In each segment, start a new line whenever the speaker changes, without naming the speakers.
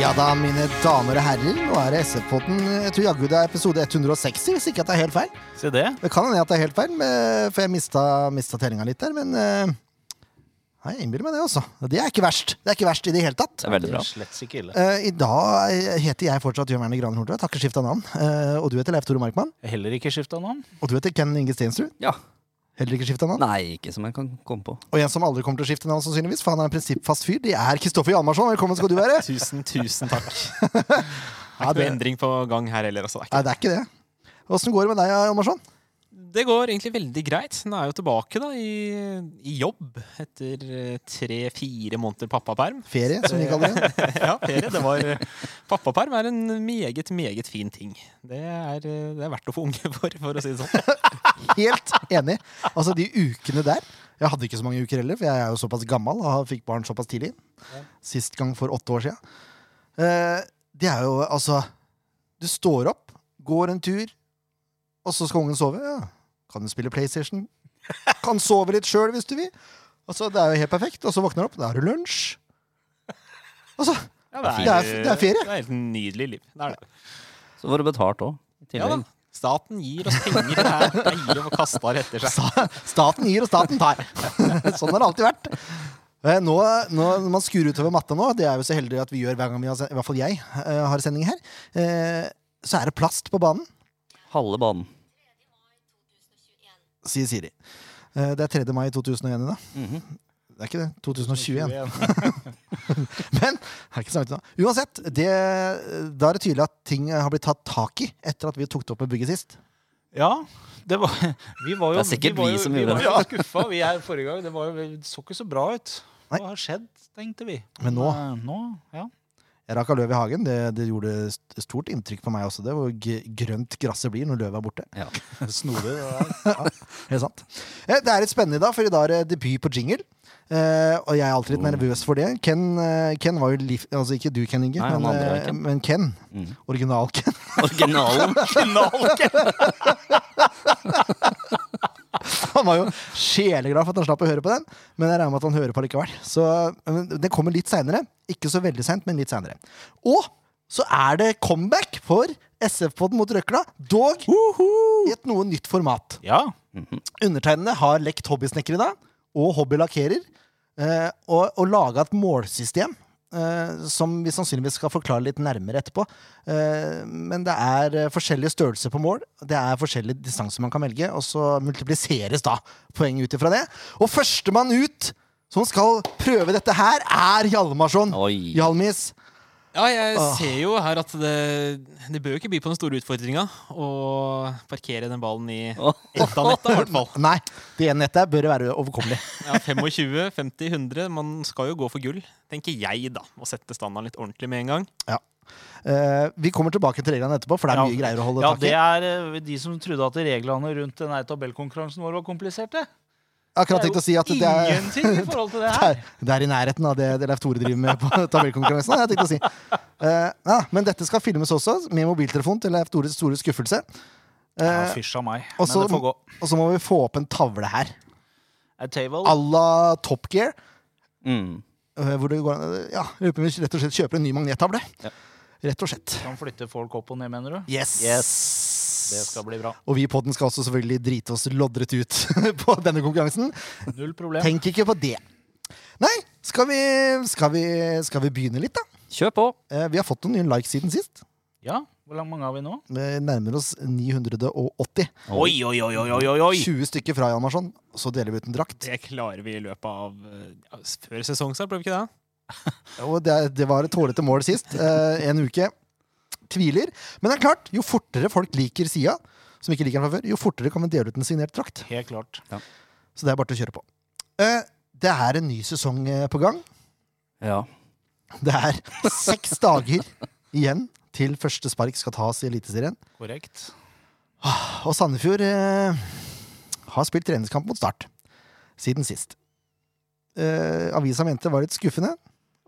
Ja da, mine damer og herrer, nå er det SF-podden. Jeg tror jaggu det er episode 160, hvis ikke at det er helt feil.
Se det.
Det kan hende at det er helt feil, men- eh, for jeg mista, mista tellinga litt der, men eh, Nei, jeg innbiller meg det, altså. Det er ikke verst. Det er ikke verst i det hele tatt.
Det er veldig
Det
bra.
er slett ikke ille.
Eh, I dag heter jeg fortsatt Jørn Werner Graner Hordtvedt, har ikke skifta navn. Eh, og du heter Leif Tore Markmann.
Jeg har Heller ikke skifta navn.
Og du heter Ken Inge Stensrud.
Ja.
Heller ikke skifta navn.
Nei, ikke som jeg kan komme på.
Og en som aldri kommer til å skifte navn, sannsynligvis, for han er en prinsippfast fyr, det er Kristoffer Hjalmarsson. Velkommen skal du være.
Tusen, tusen takk. Det
Ja,
er ikke noe
det,
endring på gang her heller. Altså. Det,
nei, det er ikke det. Åssen går det med deg, Hjalmarsson?
er ikke. det går egentlig veldig greit. Nå er jeg jo tilbake da, i, i jobb etter tre-fire måneder pappaperm.
Ferie, som vi kaller det.
Ja, ferie. Det var Pappaperm er en meget, meget fin ting. Det er, eh, det er verdt å få unge for, for å si det sånn.
Helt enig. Altså, de ukene der Jeg hadde ikke så mange uker heller, for jeg er jo såpass gammel og har- fikk barn såpass tidlig. Sist gang for åtte år siden. Eh, det er jo altså Du står opp, går en tur, og så skal ungen sove. Ja. Kan du spille PlayStation? Kan sove litt sjøl hvis du vil. Altså, det er jo helt perfekt. Og så våkner du opp, da er det lunsj. Altså, det er, det er ferie.
Det er helt nydelig liv. Det er det.
Så får du betalt òg.
Ja da. Staten gir oss penger. Det er eier og kaster etter seg.
Sta- Staten gir, og staten tar. sånn har det alltid vært. Eh, Nå, nå, når man skrur utover matta nå, det er jo så heldig at vi gjør hver gang vi har, se- i hvert fall jeg eh, har sending her, eh, så er det plast på banen,
Halve banen.
sier Siri. Eh, Det er 3. mai 2001 i dag. Det er ikke det. 2021. Men det er ikke så langt unna. Uansett, det, da er det tydelig at ting har blitt tatt tak i etter at vi tok det opp med bygget sist.
Ja, det var, vi var jo,
Det er sikkert
var
vi
jo-
som gjorde
Vi var jo skuffa, vi her forrige gang. Det, var, jo- det så ikke så bra ut.
Nei.
Hva har skjedd, tenkte vi.
Men nå-
eh, nå ja.
Jeg rakk av løv i hagen. Det, det gjorde st- stort inntrykk på meg også, det, hvor g grønt gresset blir når løvet er borte.
Ja.
Snodig. Helt sant. Eh, Det er litt spennende i dag, for i dag er det debut på jingle. Eh, og jeg er alltid litt
Oh.
nervøs for det. Ken, eh, Ken var jo liv... Altså ikke du, Ken Inge,
Nei, han
men,
andre
eh,
er Ken.
men Ken.
Mm.
Original-Ken.
Originalen.
Han var jo sjeleglad for at han slapp å høre på den, men jeg regner med at han hører på likevel. Så men den kommer litt seinere. Ikke så veldig seint, men litt seinere. Og så er det comeback for SF-podden mot røkla, dog i et noe nytt format.
ja.
Undertegnede har lekt hobbysnekker i dag, og hobbylakkerer, eh, og, og laga et målsystem. eh, som vi sannsynligvis skal forklare litt nærmere etterpå. Eh, men det er eh, forskjellige størrelser på mål, det er forskjellige distanser man kan velge, og så multipliseres da poeng ut ifra det. Og førstemann ut som skal prøve dette her, er Hjalmarsson.
Oi.
Hjalmis.
Ja, jeg
Åh.
ser jo her at det, det bør jo ikke by på den store utfordringa å parkere den ballen i
Åh.
ett av netta, i hvert fall.
Nei, det ene nettet bør være overkommelig.
Ja, 25, 50, 100. Man skal jo gå for gull, tenker jeg, da. Og sette standarden litt ordentlig med en gang.
Eh, vi kommer tilbake til reglene etterpå, for det er mye greier å holde
ja,
tak i.
det er eh, de som trodde at reglene rundt denne tabellkonkurransen vår var kompliserte.
Akkurat tenkt å si at det er
ingenting i forhold til det
Det
her.
er, det er i nærheten av det, det Leif Tore driver med på tabellkonkurransen. hadde Jeg tenkt å si. Eh, ja, men dette skal filmes også, med mobiltelefon til Leif Tores store skuffelse.
Ja,
Eh,
Fysj av meg.
og
Men
så-
det får gå.
og så må vi få opp en tavle her,
A table.
à la Top Gear.
Mm.
eh, Hvor det går an Ja, vi rett og slett kjøper en ny magnettavle.
Ja.
Rett og slett.
Kan flytte folk opp og ned, mener du?
Yes!
Det skal bli bra.
Og vi i podden skal også selvfølgelig drite oss loddrett ut på denne konkurransen.
Null problem.
Tenk ikke på det. Nei, skal vi, skal vi, skal vi begynne litt, da?
Kjør på.
Eh, Vi har fått noen nye likes siden sist.
Ja, Hvor lang- mange har vi nå?
Vi nærmer oss 980.
Oi, oi, oi, oi, oi, oi!
20 stykker fra Hjalmarsson, og så deler vi ut en drakt.
Det klarer vi i løpet av eh, ja, før sesongstart, prøver vi ikke det?
Og det, det var et tålete mål sist. Eh, en uke. Tviler. Men det er klart, jo fortere folk liker sida, som ikke liker den fra før, jo fortere kan vi dele ut en signert drakt.
Helt klart.
Så det er bare til å kjøre på. Eh, det er en ny sesong eh, på gang.
Ja.
Det er seks dager igjen til første spark skal tas i Eliteserien.
Korrekt.
Og Sandefjord eh, har spilt treningskamp mot Start siden sist. Eh, avisa mente det var litt skuffende.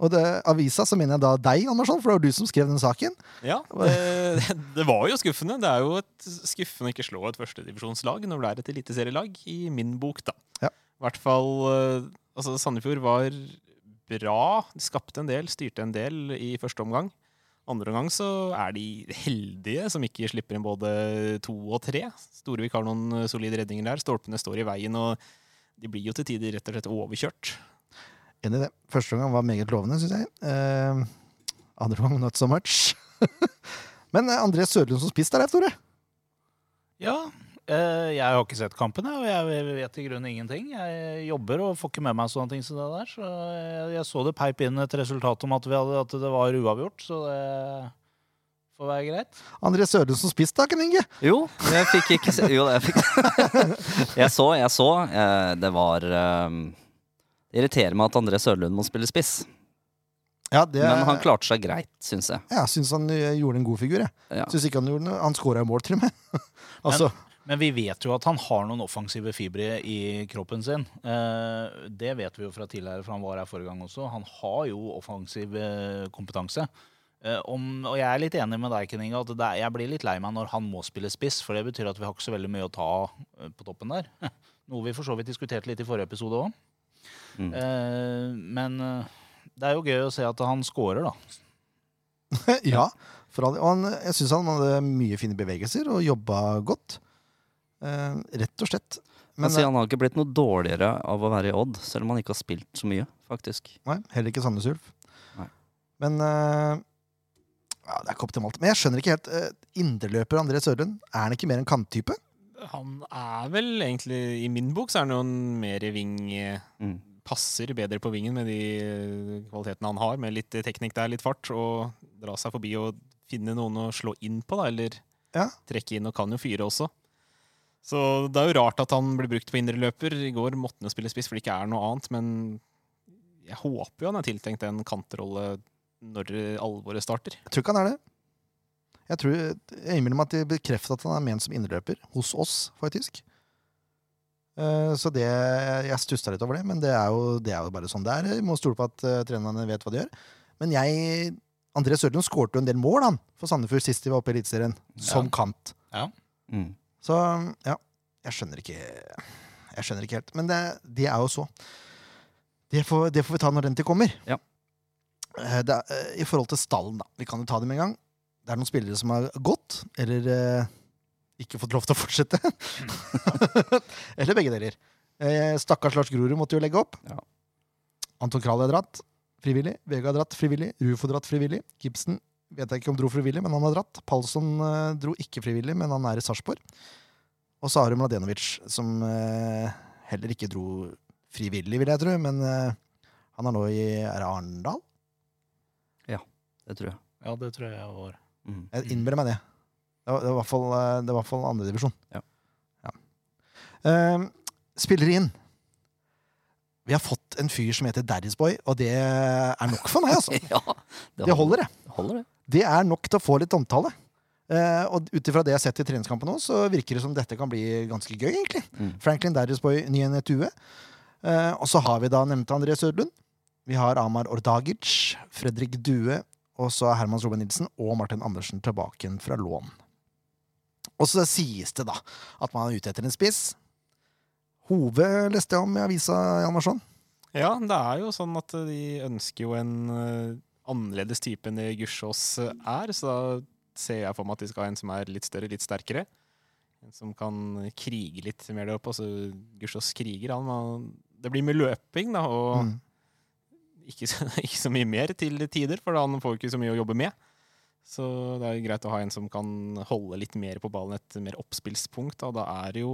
Og det, avisa, så mener jeg da deg, Andersson, for det var du som skrev den saken.
Ja, det, det var jo skuffende. Det er jo et skuffende å ikke slå et førstedivisjonslag når det er et eliteserielag, i min bok, da.
Ja.
I hvert fall eh, Altså, Sandefjord var bra. De skapte en del, styrte en del i første omgang. Andre omgang så er de heldige som ikke slipper inn både to og tre. Storvik har noen eh, solide redninger der. Stolpene står i veien, og de blir jo til tider rett og slett overkjørt.
Enig i det. Første gang var meget lovende, syns jeg. Eh, andre gang not so much. Men eh, André Sørlund som spiss der, Leif Tore.
Ja, eh, jeg har ikke sett kampen, jeg, og jeg vet i grunnen ingenting. Jeg jobber og får ikke med meg sånne ting som det der. Så jeg, jeg så det peip inn et resultat om at, vi hadde, at det var uavgjort, så det får være greit.
André Sørlund som spiss, da, Ken Inge.
Jo, jeg fikk ikke se Jo, jeg fikk Jeg så, jeg så. eh, Det var eh, Det irriterer meg at André Sørlund må spille spiss.
Ja, det,
Men han klarte seg greit, syns jeg.
Ja, jeg syns han eh, gjorde en god figur. Jeg.
Ja.
Syns ikke han gjorde noe. Han skåra jo mål, til og med. altså,
Men vi vet jo at han har noen offensive fibre i kroppen sin. Eh, det vet vi jo fra tidligere, for han var her forrige gang også. Han har jo offensiv eh, kompetanse. Eh, om, og jeg er litt enig med deg, Ken Inge, at det er, jeg blir litt lei meg når han må spille spiss, for det betyr at vi har ikke så veldig mye å ta av eh, på toppen der. Noe vi for så vidt diskuterte litt i forrige episode òg.
Mm.
eh, men eh, det er jo gøy å se at han scorer, da.
ja. For all- og han, jeg syns han hadde mye fine bevegelser og jobba godt. Eh, rett og slett.
Men
Men eh,
så han har ikke blitt noe dårligere av å være i Odd, selv om han ikke har spilt så mye, faktisk.
eh, Nei, heller ikke Sandnes Ulf.
Nei.
Men eh, ja, Det er ikke optimalt. Men jeg skjønner ikke helt. eh, indreløper André Sørlund, er han ikke mer en kanttype?
Han er vel egentlig, i min bok, så er han jo en mer ving... eh,
Mm.
passer bedre på vingen med de eh, kvalitetene han har, med litt teknikk der, litt fart, og dra seg forbi og finne noen å slå inn på, da, eller
Ja.
trekke inn, og kan jo fyre også. Så det er jo rart at han blir brukt på indreløper. I går måtte han jo spille spiss, for det ikke er noe annet, men jeg håper jo han er tiltenkt en kantrolle når alvoret starter.
Jeg tror ikke han er det. Jeg tror, jeg innbiller meg at de bekrefter at han er ment som indreløper hos oss, faktisk. Eh, så det, jeg stussa litt over det, men det er jo, det er jo bare sånn det er. Vi må stole på at eh, trenerne vet hva de gjør. Men jeg André Sørlund skårte jo en del mål han, for Sandefjord sist de var oppe i Eliteserien, som kant.
Mm.
Så ja, jeg skjønner ikke Jeg skjønner ikke helt. Men det, det er jo så. Det får, det får vi ta når den tid kommer.
Ja.
Eh, Det, er, eh, I forhold til stallen, da. Vi kan jo ta dem en gang. Det er noen spillere som har gått, eller eh, ikke fått lov til å fortsette. eller begge deler. Eh, stakkars Lars Grorud måtte jo legge opp.
Ja.
Anton Krahl har dratt frivillig. Vega har dratt frivillig. Rufo har dratt frivillig. Gibson vet jeg ikke om dro frivillig, men han har dratt. Palsson eh, dro ikke frivillig, men han er i Sarpsborg. Og så har du Mladenovic, som eh, heller ikke dro frivillig, vil jeg tro, men eh, han er nå i er det Arendal.
Det tror jeg.
Ja, det tror jeg var
Mm.
Jeg innbiller meg det. Det var, det var i hvert fall, eh, det var i hvert fall andredivisjon.
Ja.
Ja. Eh, spillere inn. Vi har fått en fyr som heter Daddy'sboy, og det er nok for meg, altså.
Ja,
Det holder, det.
holder det.
Det er nok til å få litt omtale. Eh, og ut ifra det jeg har sett i treningskampen nå, så virker det som dette kan bli ganske gøy, egentlig.
Mm.
Franklin Derrisboy, ny enn et hue. Eh, og så har vi da nevnte André Sødlund. Vi har Amar Ordagic, Fredrik Due, og så er Hermans Robin Nilsen og Martin Andersen tilbake igjen fra lån. Og så sies det, da, at man er ute etter en spiss. Hove leste jeg om i avisa, Jan Marsson.
Ja, det er jo sånn at eh, de ønsker jo en eh, annerledes type enn det Gussiås eh, er, så da ser jeg for meg at de skal ha en som er litt større, litt sterkere. En som kan krige litt mer der oppe. Altså, Gussiås kriger, han. han- Det blir mye løping, da, og
Mm.
ikke, så, ikke så mye mer til tider, for han får jo ikke så mye å jobbe med. Så det er jo greit å ha en som kan holde litt mer på ballen, et mer oppspillspunkt. Da, da er det jo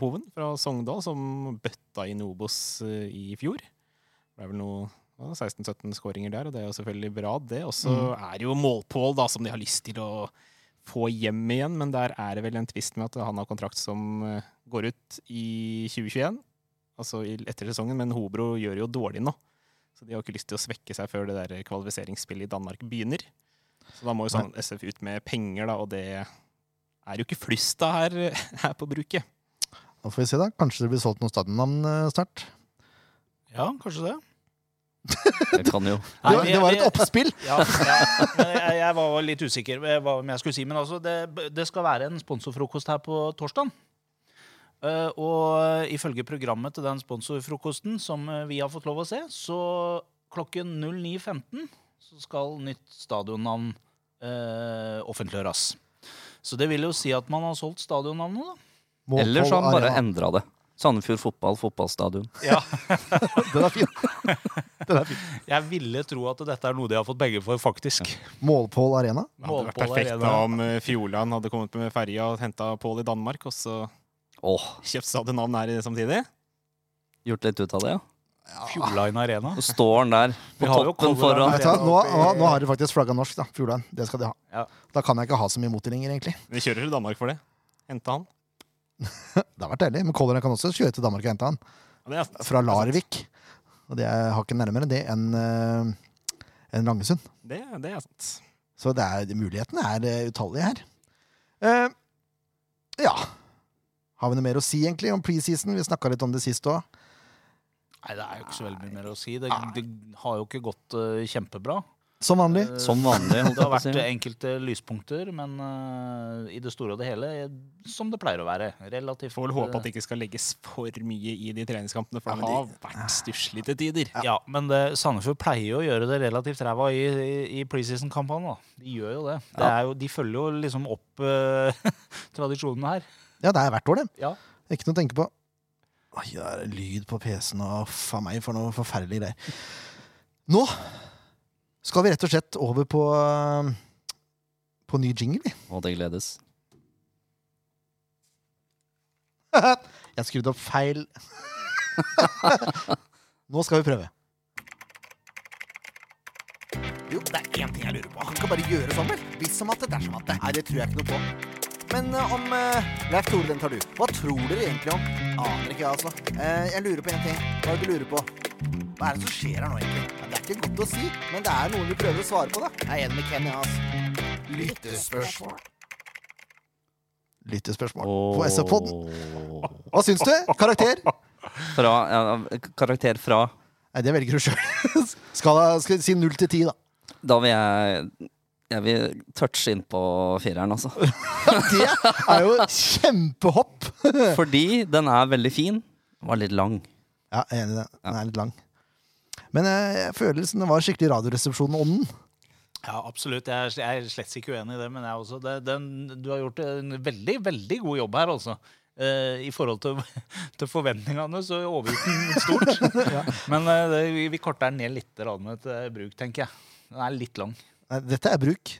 Hoven fra Sogndal som bøtta inn Obos eh, i fjor. Det er vel noe ja, 16-17 skåringer der, og det er jo selvfølgelig bra, det. Og så er det jo målpål, da, som de har lyst til å få hjem igjen, men der er det vel en tvist med at han har kontrakt som eh, går ut i 2021, altså i- etter sesongen, men Hobro gjør jo dårlig nå. Så de har ikke lyst til å svekke seg før det der kvalifiseringsspillet i Danmark begynner. Så da må jo sånn SF ut med penger, da, og det er jo ikke flust av her, her på bruket.
Nå får vi se, da. Kanskje det blir solgt noen stadionnavn eh, snart.
Ja, kanskje det.
Det kan jo.
Det
Nei,
var,
vi-
det var
vi-
et oppspill!
Ja, ja. Men Jeg, jeg var litt usikker med hva om jeg skulle si, men altså, det, det skal være en sponsorfrokost her på torsdag. og ifølge programmet til den sponsorfrokosten som eh, vi har fått lov å se, så klokken 09.15 så skal nytt stadionnavn eh, offentliggjøres. Så det vil jo si at man har solgt stadionnavnet, da.
Målfold
Eller så har han bare
Arena.
endra det. Sandefjord fotball, fotballstadion.
Den er fin. Den er fin.
Jeg ville tro at dette er noe de har fått begge for, faktisk.
Målpål Arena?
Det hadde vært
Målpål
perfekt
Arena.
da om eh, Fjordland hadde kommet med ferja og henta Pål i Danmark, og så
Åh,
kjøpt stadionnavn her samtidig.
gjort litt ut av det, ja.
Fjordline Arena.
Så står han der
Vi
på
har jo
toppen
Color
foran.
Arena.
Vet du hva, nå,
oppi-
nå, nå har de faktisk flagga norsk, da. Fjordland. Det skal de ha.
Ja.
Da kan jeg ikke ha så mye motdelinger, egentlig.
Vi kjører til Danmark for det. Hente han.
Det har vært deilig. Men Color Line kan også kjøre til Danmark og hente han.
Ja, det er sant.
Fra Larvik. Og det er hakket nærmere det enn eh, enn Langesund.
Det, det er sant.
Så det er, mulighetene er eh, utallige her. Eh, ja. Har vi noe mer å si egentlig om preseason? Vi snakka litt om det sist òg.
Nei, det er jo ikke så veldig mye mer å si. Det, det har jo ikke gått eh, kjempebra.
Som vanlig.
Eh,
Som vanlig, holdt
Det har
jeg på å si.
vært eh, enkelte lyspunkter, men eh, i det store og det hele eh, som det pleier å være. Relativt
Får vel håpe at det ikke skal legges for mye i de treningskampene, for
Ja,
det
men
har vært stusslig til tider.
eh, ja. men det, Sandefjord pleier jo å gjøre det relativt ræva i, i, i preseason-kampene. da. De gjør jo det. det er jo, de følger jo liksom opp eh, tradisjonen her.
Ja, det er hvert år, det.
Ja.
Ikke noe å tenke på. Oi, det er lyd på PC-en og faen meg for noe forferdelig greier. Nå skal vi rett og slett over på eh, på ny jingle, vi.
Og det gledes.
Jeg skrudde opp feil. Nå skal vi prøve. Jo, det er én ting jeg lurer på. Han kan bare gjøre sånn, vel? Hvis som at det dersom at det. Nei, det tror jeg ikke noe på. Men eh, om uh, Leif Tore, den tar du. Hva tror dere egentlig om? Aner ikke, jeg, altså. Eh, jeg lurer på én ting. Hva er det du lurer på? Hva er det som skjer her nå, egentlig? Ja, det er ikke godt å si, men det er noen vi prøver å svare på, da. Jeg er enig med Kenny, altså. Lyttespørsmål. Lyttespørsmål på SF-podden. Hva syns du? Karakter?
Fra, ja, karakter fra
Nei, det velger du sjøl. skal, skal vi si null til ti, da.
Da vil jeg Jeg vil touche innpå fireren, altså.
Det er jo kjempehopp!
Fordi den er veldig fin. Den var litt lang.
Ja, jeg er enig i det. Den er litt lang. Men eh, jeg føler liksom det var skikkelig Radioresepsjonen-ånden.
Ja, absolutt. Jeg er, jeg er slett ikke uenig i det, men jeg også. Det, den, du har gjort en veldig, veldig god jobb her, altså. Eh, I forhold til, til forventningene så overgikk den stort. Men eh, det, vi- vi korter den ned litt rann til eh, bruk, tenker jeg. Den er litt lang.
Nei, Dette er bruk.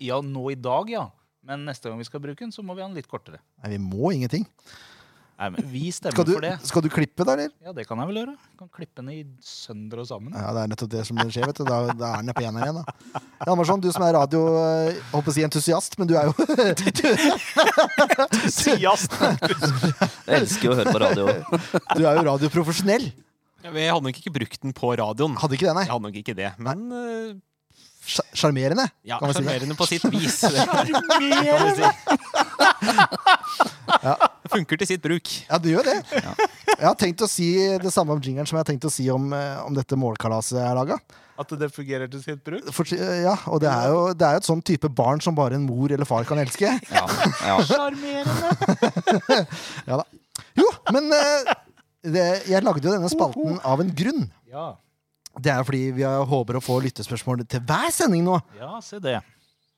Ja, nå i dag, ja. Men neste gang vi skal bruke den, så må vi ha den litt kortere.
Nei, vi må ingenting.
Nei, men Vi stemmer
Skal du,
for det.
skal du klippe, da, eller?
Ja, det kan jeg vel gjøre. Kan klippe den i sønder og sammen.
Ja, det er nettopp det som skjer, vet du. Da, da er den på eneren igjen, da. Ja, Andersson, du som er radio... eh, Jeg holdt på å si entusiast, men du er jo
Jeg elsker jo å høre på radio.
Du er jo radioprofesjonell.
Jeg hadde nok ikke brukt den på radioen.
Hadde ikke det,
Jeg
nei.
hadde nok ikke det, men eh,
Sj- Sjarmerende,
ja,
kan vi si det.
sjarmerende på sitt vis. Det kan vi si. Det funker til sitt bruk.
Ja, det gjør det. Jeg har tenkt å si det samme om jingeren som jeg har tenkt å si om, eh, om dette målkalaset jeg har laga.
At det fungerer til sitt bruk?
Ja, og det er, jo, det er jo et sånn type barn som bare en mor eller far kan elske.
Ja, ja.
Sjarmerende!
Ja da. Jo, men eh, det, jeg lagde jo denne spalten av en grunn.
Ja.
Det er fordi vi har- håper å få lyttespørsmål til hver sending nå.
ja, se det.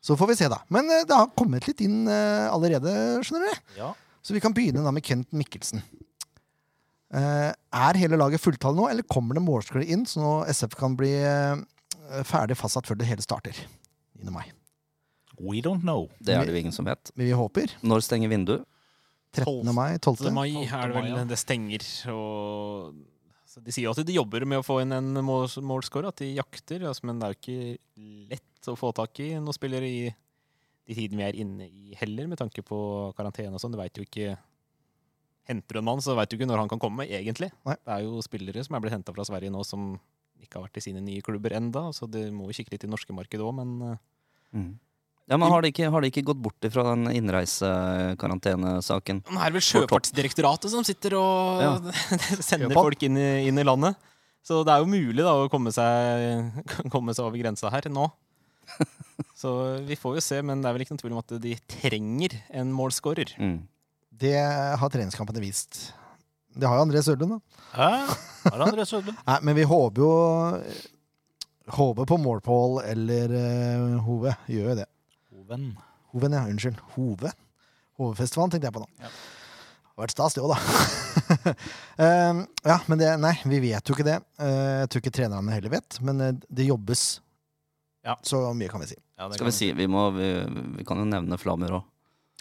Så får vi se, da. Men eh, det har kommet litt inn eh, allerede, skjønner dere.
Ja.
Så vi kan begynne da med Kent Mikkelsen. Eh, er hele laget fulltallet nå, eller kommer det målsklidd inn, så nå SF kan bli eh, ferdig fastsatt før det hele starter? Innen meg.
We don't know.
Det er det jo ingen som vet.
Men vi håper.
Når stenger vinduet?
13. mai, 12.
Så mai er det
mai, ja.
vel det stenger, og så De sier jo at de jobber med å få inn en mål, målscore, at de jakter, altså, men det er jo ikke lett å få tak i noen spillere i de tiden vi er inne i heller, med tanke på karantene og sånn. Du veit jo ikke Henter du en mann, så veit du ikke når han kan komme, egentlig.
Nei.
Det er jo spillere som er blitt henta fra Sverige nå, som ikke har vært i sine nye klubber enda, så det må jo kikke litt i norske markedet òg, men eh,
Mm.
Ja, men har de ikke, har de ikke gått bort ifra den innreisekarantenesaken?
Nå er det vel Sjøfartsdirektoratet som sitter og sender
Japan.
folk inn i, inn i landet. Så det er jo mulig da å komme seg, komme seg over grensa her nå. Så vi får jo se, men det er vel ikke noen tvil om at de trenger en målskårer.
Mm.
Det har treningskampene vist. Det har jo André Sørlund, da.
Hæ? Har han André Sødlund?
Nei, men vi eh, håper jo HB på målpål eller eh, Hove gjør jo det.
Hoven.
Hoven, ja. Unnskyld. Hove. Hovefestivalen tenkte jeg på nå.
Ja.
Det har vært stas, det òg, da. um, ja, men det, nei, vi vet jo ikke det. Eh, jeg tror ikke trenerne heller vet, men eh, det jobbes.
Ja.
Så mye kan vi si.
Ja, det
Skal
kan
vi si, vi, må, vi, vi kan jo nevne Flamur òg.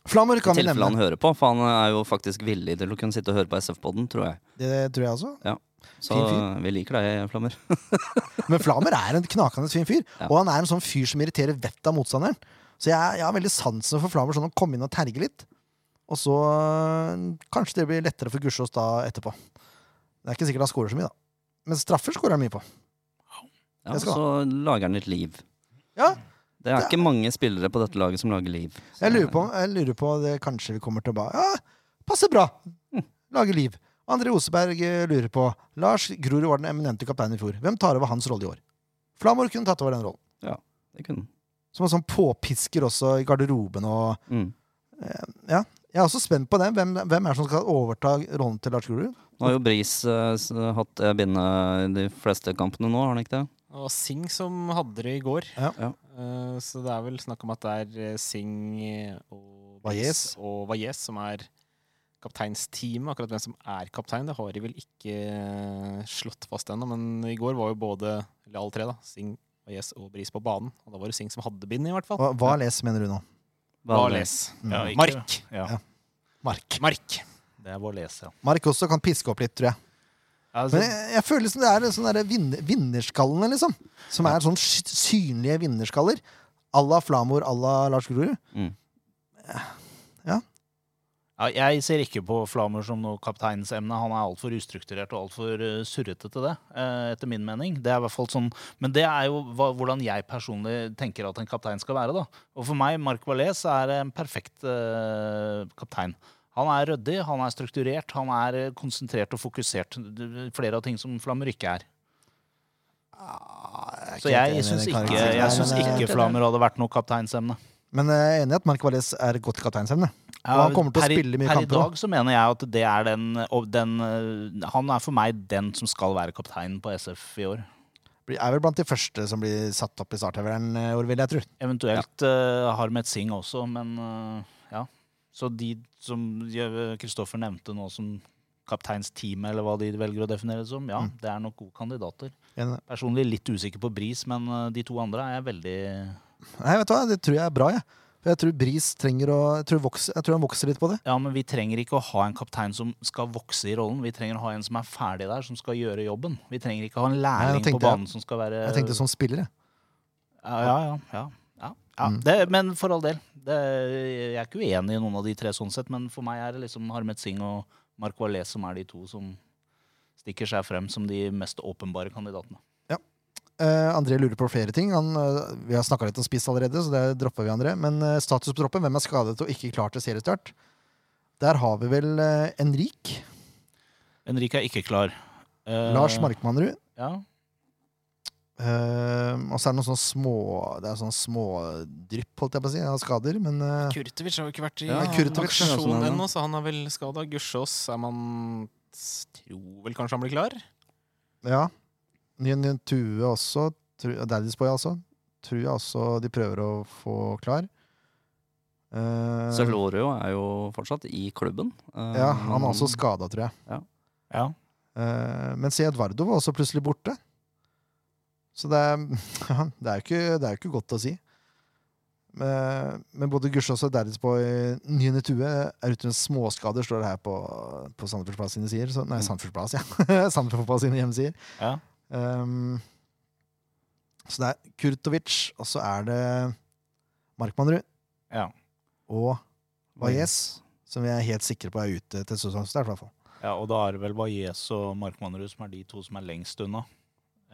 Flammer
I
kan vi
tilfelle han
nevne.
hører på, for han er jo faktisk villig til å kunne sitte og høre på SF-poden, tror jeg.
Det tror jeg også.
Så
Fin fyr.
vi liker deg, Flammer.
Men Flamer er en knakende fin fyr,
Ja.
og han er en sånn fyr som irriterer vettet av motstanderen. Så jeg, jeg har veldig sansen for Flamer, sånn å komme inn og terge litt. Og så øh, kanskje det blir lettere for Gussiås da etterpå. Det er ikke sikkert han scorer så mye, da. Men straffer scorer han mye på.
Ja,
Jeg skal
så lager han litt liv.
Ja,
Det er ikke mange spillere på dette laget som lager liv. Så-
jeg lurer på, jeg lurer på det kanskje vi kommer tilbake Ja, passer bra! Lager liv. André Oseberg øh, lurer på Lars Grorud var den eminente kapteinen i fjor. Hvem tar over hans rolle i år? Flamor kunne tatt over den rollen.
Det kunne.
Som en sånn påpisker også i garderoben og
han. Mm.
Jeg er også spent på den. Hvem, hvem er det som skal overta rollen til Lars Grorud?
Nå har jo Bris eh, s- hatt det bindet i de fleste kampene nå, har han ikke det?
Og Singh som hadde det i går.
Ja.
Ja.
Eh, så det er vel snakk om at det er eh, Singh og
Valles.
og Valles som er kapteinsteamet. Akkurat hvem som er kaptein, det har de vel ikke eh, slått fast ennå. Men i går var jo både eller alle tre, da, Singh, Valles og Bris på banen. Og da var det Singh som hadde bindet, i hvert fall.
Hva, hva les, mener du nå?
Valles.
Mm.
Ja, ikke-
Mark.
Ja,
Ja. Mark.
Mark.
det er vår lese.
Mark også kan piske opp litt, tror jeg.
Altså,
Men jeg, jeg føler som det er en sånn derre vin, vinnerskallene, liksom. Som er sånn sky- synlige vinnerskaller. À la Flamor, à la Lars Grorud.
ja, jeg ser ikke på Flamer som noe kapteinsemne. Han er altfor ustrukturert og altfor eh, surrete til det, eh, etter min mening. Det er i hvert fall sånn, men det er jo hva, hvordan jeg personlig tenker at en kaptein skal være. da. Og for meg, Marc Valais er en perfekt eh, kaptein. Han er ryddig, han er strukturert, han er eh, konsentrert og fokusert. Det- Flere av ting som Flamer ikke er.
Ah,
Så jeg syns ikke, jeg synes ikke Flamer hadde vært noe kapteinsemne.
Men eh, jeg er enig i at Mark Valles er et godt kapteinsemne. Og han kommer til å
Per i-
spille mye
per
kamper
i dag så mener jeg at det er den, og den eh, Han er for meg den som skal være kapteinen på SF i år.
Blir- Er vel blant de første som blir satt opp i startheveren, eh, Orvild, jeg tror.
Eventuelt eh, ja. Harmet Singh også, men eh, ja. Så de som eh, Kristoffer nevnte nå som kapteinsteamet, eller hva de velger å definere det som, ja,
Mm.
det er nok gode kandidater.
Enig.
Personlig litt usikker på Bris, men eh, de to andre er jeg veldig
Nei, vet du hva, det tror jeg er bra, jeg. For jeg tror Bris trenger å Jeg tror, vokser, jeg tror han vokser litt på det.
Ja, men vi trenger ikke å ha en kaptein som skal vokse i rollen. Vi trenger å ha en som er ferdig der, som skal gjøre jobben. Vi trenger ikke ha en lærling
tenkte-
på banen som skal være
Jeg tenkte som spiller, jeg.
Ja, ja, ja. ja, ja, ja.
Mm.
Det, men for all del. Det, jeg er ikke uenig i noen av de tre, sånn sett, men for meg er det liksom Harmet Singh og Mark Valais som er de to som stikker seg frem som de mest åpenbare kandidatene.
Eh, André lurer på flere ting. Han, eh, vi har snakka litt om spiss allerede, så det dropper vi, André. Men eh, status på troppen, hvem er skadet og ikke klar til seriestart? Der har vi vel eh, Enrik,
Henrik er ikke klar. Eh,
Lars Markmannrud.
Ja.
eh, og så er det noen sånne små Det er sånne smådrypp, holdt jeg på å si, av skader. Men eh,
Kurtovic har jo ikke vært i
Ja,
Kurtovic
er også
aksjon
den, ja.
ennå, så han er vel skada. Gussiås er man Tror vel kanskje han blir klar.
ja. Nyen Tue også. tru- Daddy's Boy, altså. Tror jeg også de prøver å få klar. Eh,
Så Lorio er jo fortsatt i klubben. Eh,
Ehm, ja, han er også skada, tror jeg.
ja.
Eh, men se, Edvardo var også plutselig borte. Så det er, ja, det er, jo, ikke, det er jo ikke godt å si. Men, men både Gussiås og Derridsboy Nyene Tue er ute med småskader, står det her på, på Sandefjords Plass sine sider. Så, nei, Sandefjords Plass, ja. Sandefjord Fotball sine hjemmesider.
Mm. Ja.
Ehm, så det er Kurtovic, og så er det Markmannrud
Ja.
og Valles, som vi er helt sikre på er ute til sesongstart, i hvert fall.
ja, og da er det vel Valles og Mark Mannerud som er de to som er lengst unna.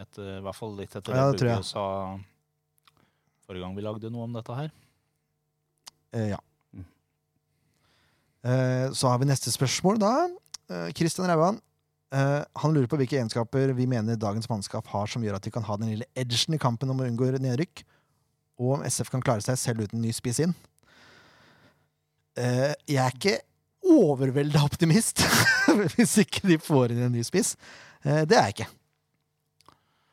Etter, I hvert fall litt etter
Ja,
det
det tror jeg.
Bugge sa forrige gang vi lagde noe om dette her.
Eh, ja.
Mm.
Eh, så har vi neste spørsmål, da. Eh, Kristian Rauan. Eh, han lurer på hvilke egenskaper vi mener dagens mannskap har som gjør at de kan ha den lille edgen i kampen om å unngå nedrykk, og om SF kan klare seg selv uten ny spiss inn. Eh, jeg er ikke overvelda optimist hvis ikke de får inn en ny spiss. Eh, det er jeg ikke.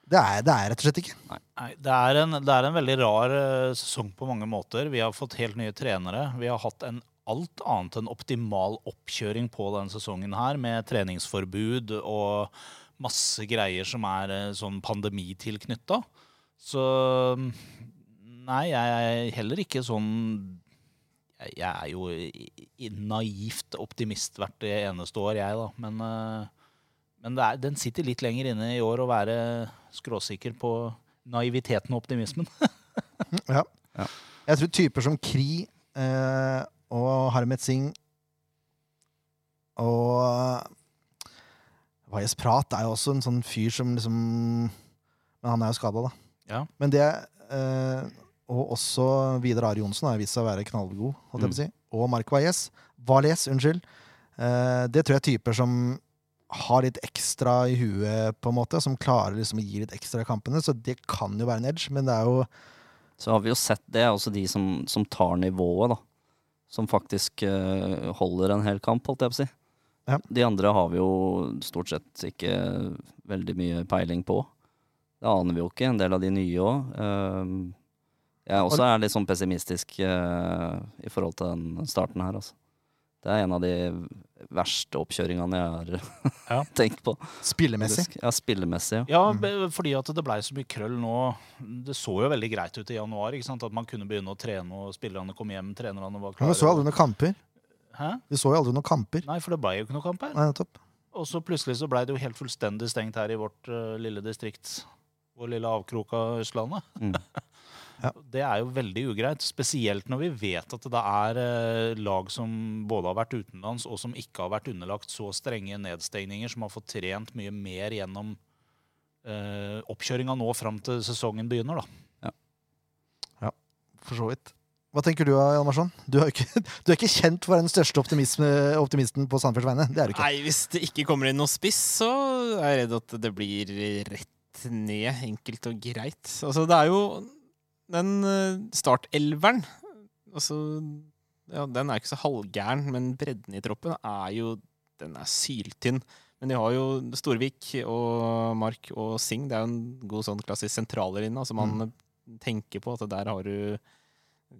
Det er, det er rett og slett ikke.
Nei, det er, en, det er en veldig rar eh, sesong på mange måter. Vi har fått helt nye trenere. Vi har hatt en alt annet enn optimal oppkjøring på denne sesongen her, med treningsforbud og masse greier som er eh, sånn pandemitilknytta. Så nei, jeg er heller ikke sånn jeg- Jeg er jo i- i- naivt optimist hvert eneste år, jeg, da. Men, eh, men det er, den sitter litt lenger inne i år å være skråsikker på naiviteten og optimismen.
Ja.
Ja.
Jeg tror typer som Kri eh, og Harmet Singh og Vajez Prat er jo også en sånn fyr som liksom Men han er jo skada, da.
Ja.
Men det eh, Og også Vidar Ari Johnsen har vist seg å være knallgod. Holdt jeg på å si. Og Mark Valles. Valles, unnskyld. Eh, det tror jeg er typer som har litt ekstra i huet, på en måte, som klarer liksom å gi litt ekstra i kampene. Så det kan jo være en edge, men det er jo
Så har vi jo sett det er også de som, som tar nivået, da. Som faktisk eh, holder en hel kamp, holdt jeg på å si.
Ja.
De andre har vi jo stort sett ikke veldig mye peiling på. Det aner vi jo ikke, en del av de nye òg. jeg også er litt sånn pessimistisk eh, i forhold til den starten her, altså. Det er en av de verste oppkjøringene jeg har
Ja.
tenkt på.
spillemessig.
faktisk. Ja, spillemessig, ja.
Ja, be- fordi at det blei så mye krøll nå. Det så jo veldig greit ut i januar. ikke sant? At man kunne begynne å trene, og spillerne kom hjem, trenerne var
Men vi så
klare.
aldri noen kamper.
Hæ?
Vi så jo aldri noen kamper.
Nei, for det blei jo ikke noe kamp her.
Nei, nettopp.
Og så plutselig så blei det jo helt fullstendig stengt her i vårt eh, lille distrikt. Vår lille avkrok av Østlandet.
Ja.
Mm.
Det er jo veldig ugreit. Spesielt når vi vet at det er eh, lag som både har vært utenlands, og som ikke har vært underlagt så strenge nedstengninger, som har fått trent mye mer gjennom uh, oppkjøringa nå fram til sesongen begynner, da.
For så vidt. Hva tenker du, Hjalmarsson? Du, er jo ikke- du er ikke kjent for å være den største optimisme- optimisten på Sandefjords vegne. Det er du ikke.
Nei, hvis det ikke kommer inn noe spiss, så er jeg redd at det blir rett ned, enkelt og greit. Altså, det er jo den eh, startelveren Altså, ja, den er ikke så halvgæren, men bredden i troppen er jo Den er syltynn. Men de har jo Storvik og Mark og Singh. Det er jo en god sånn klassisk sentraler inne. Altså man tenker på at der har du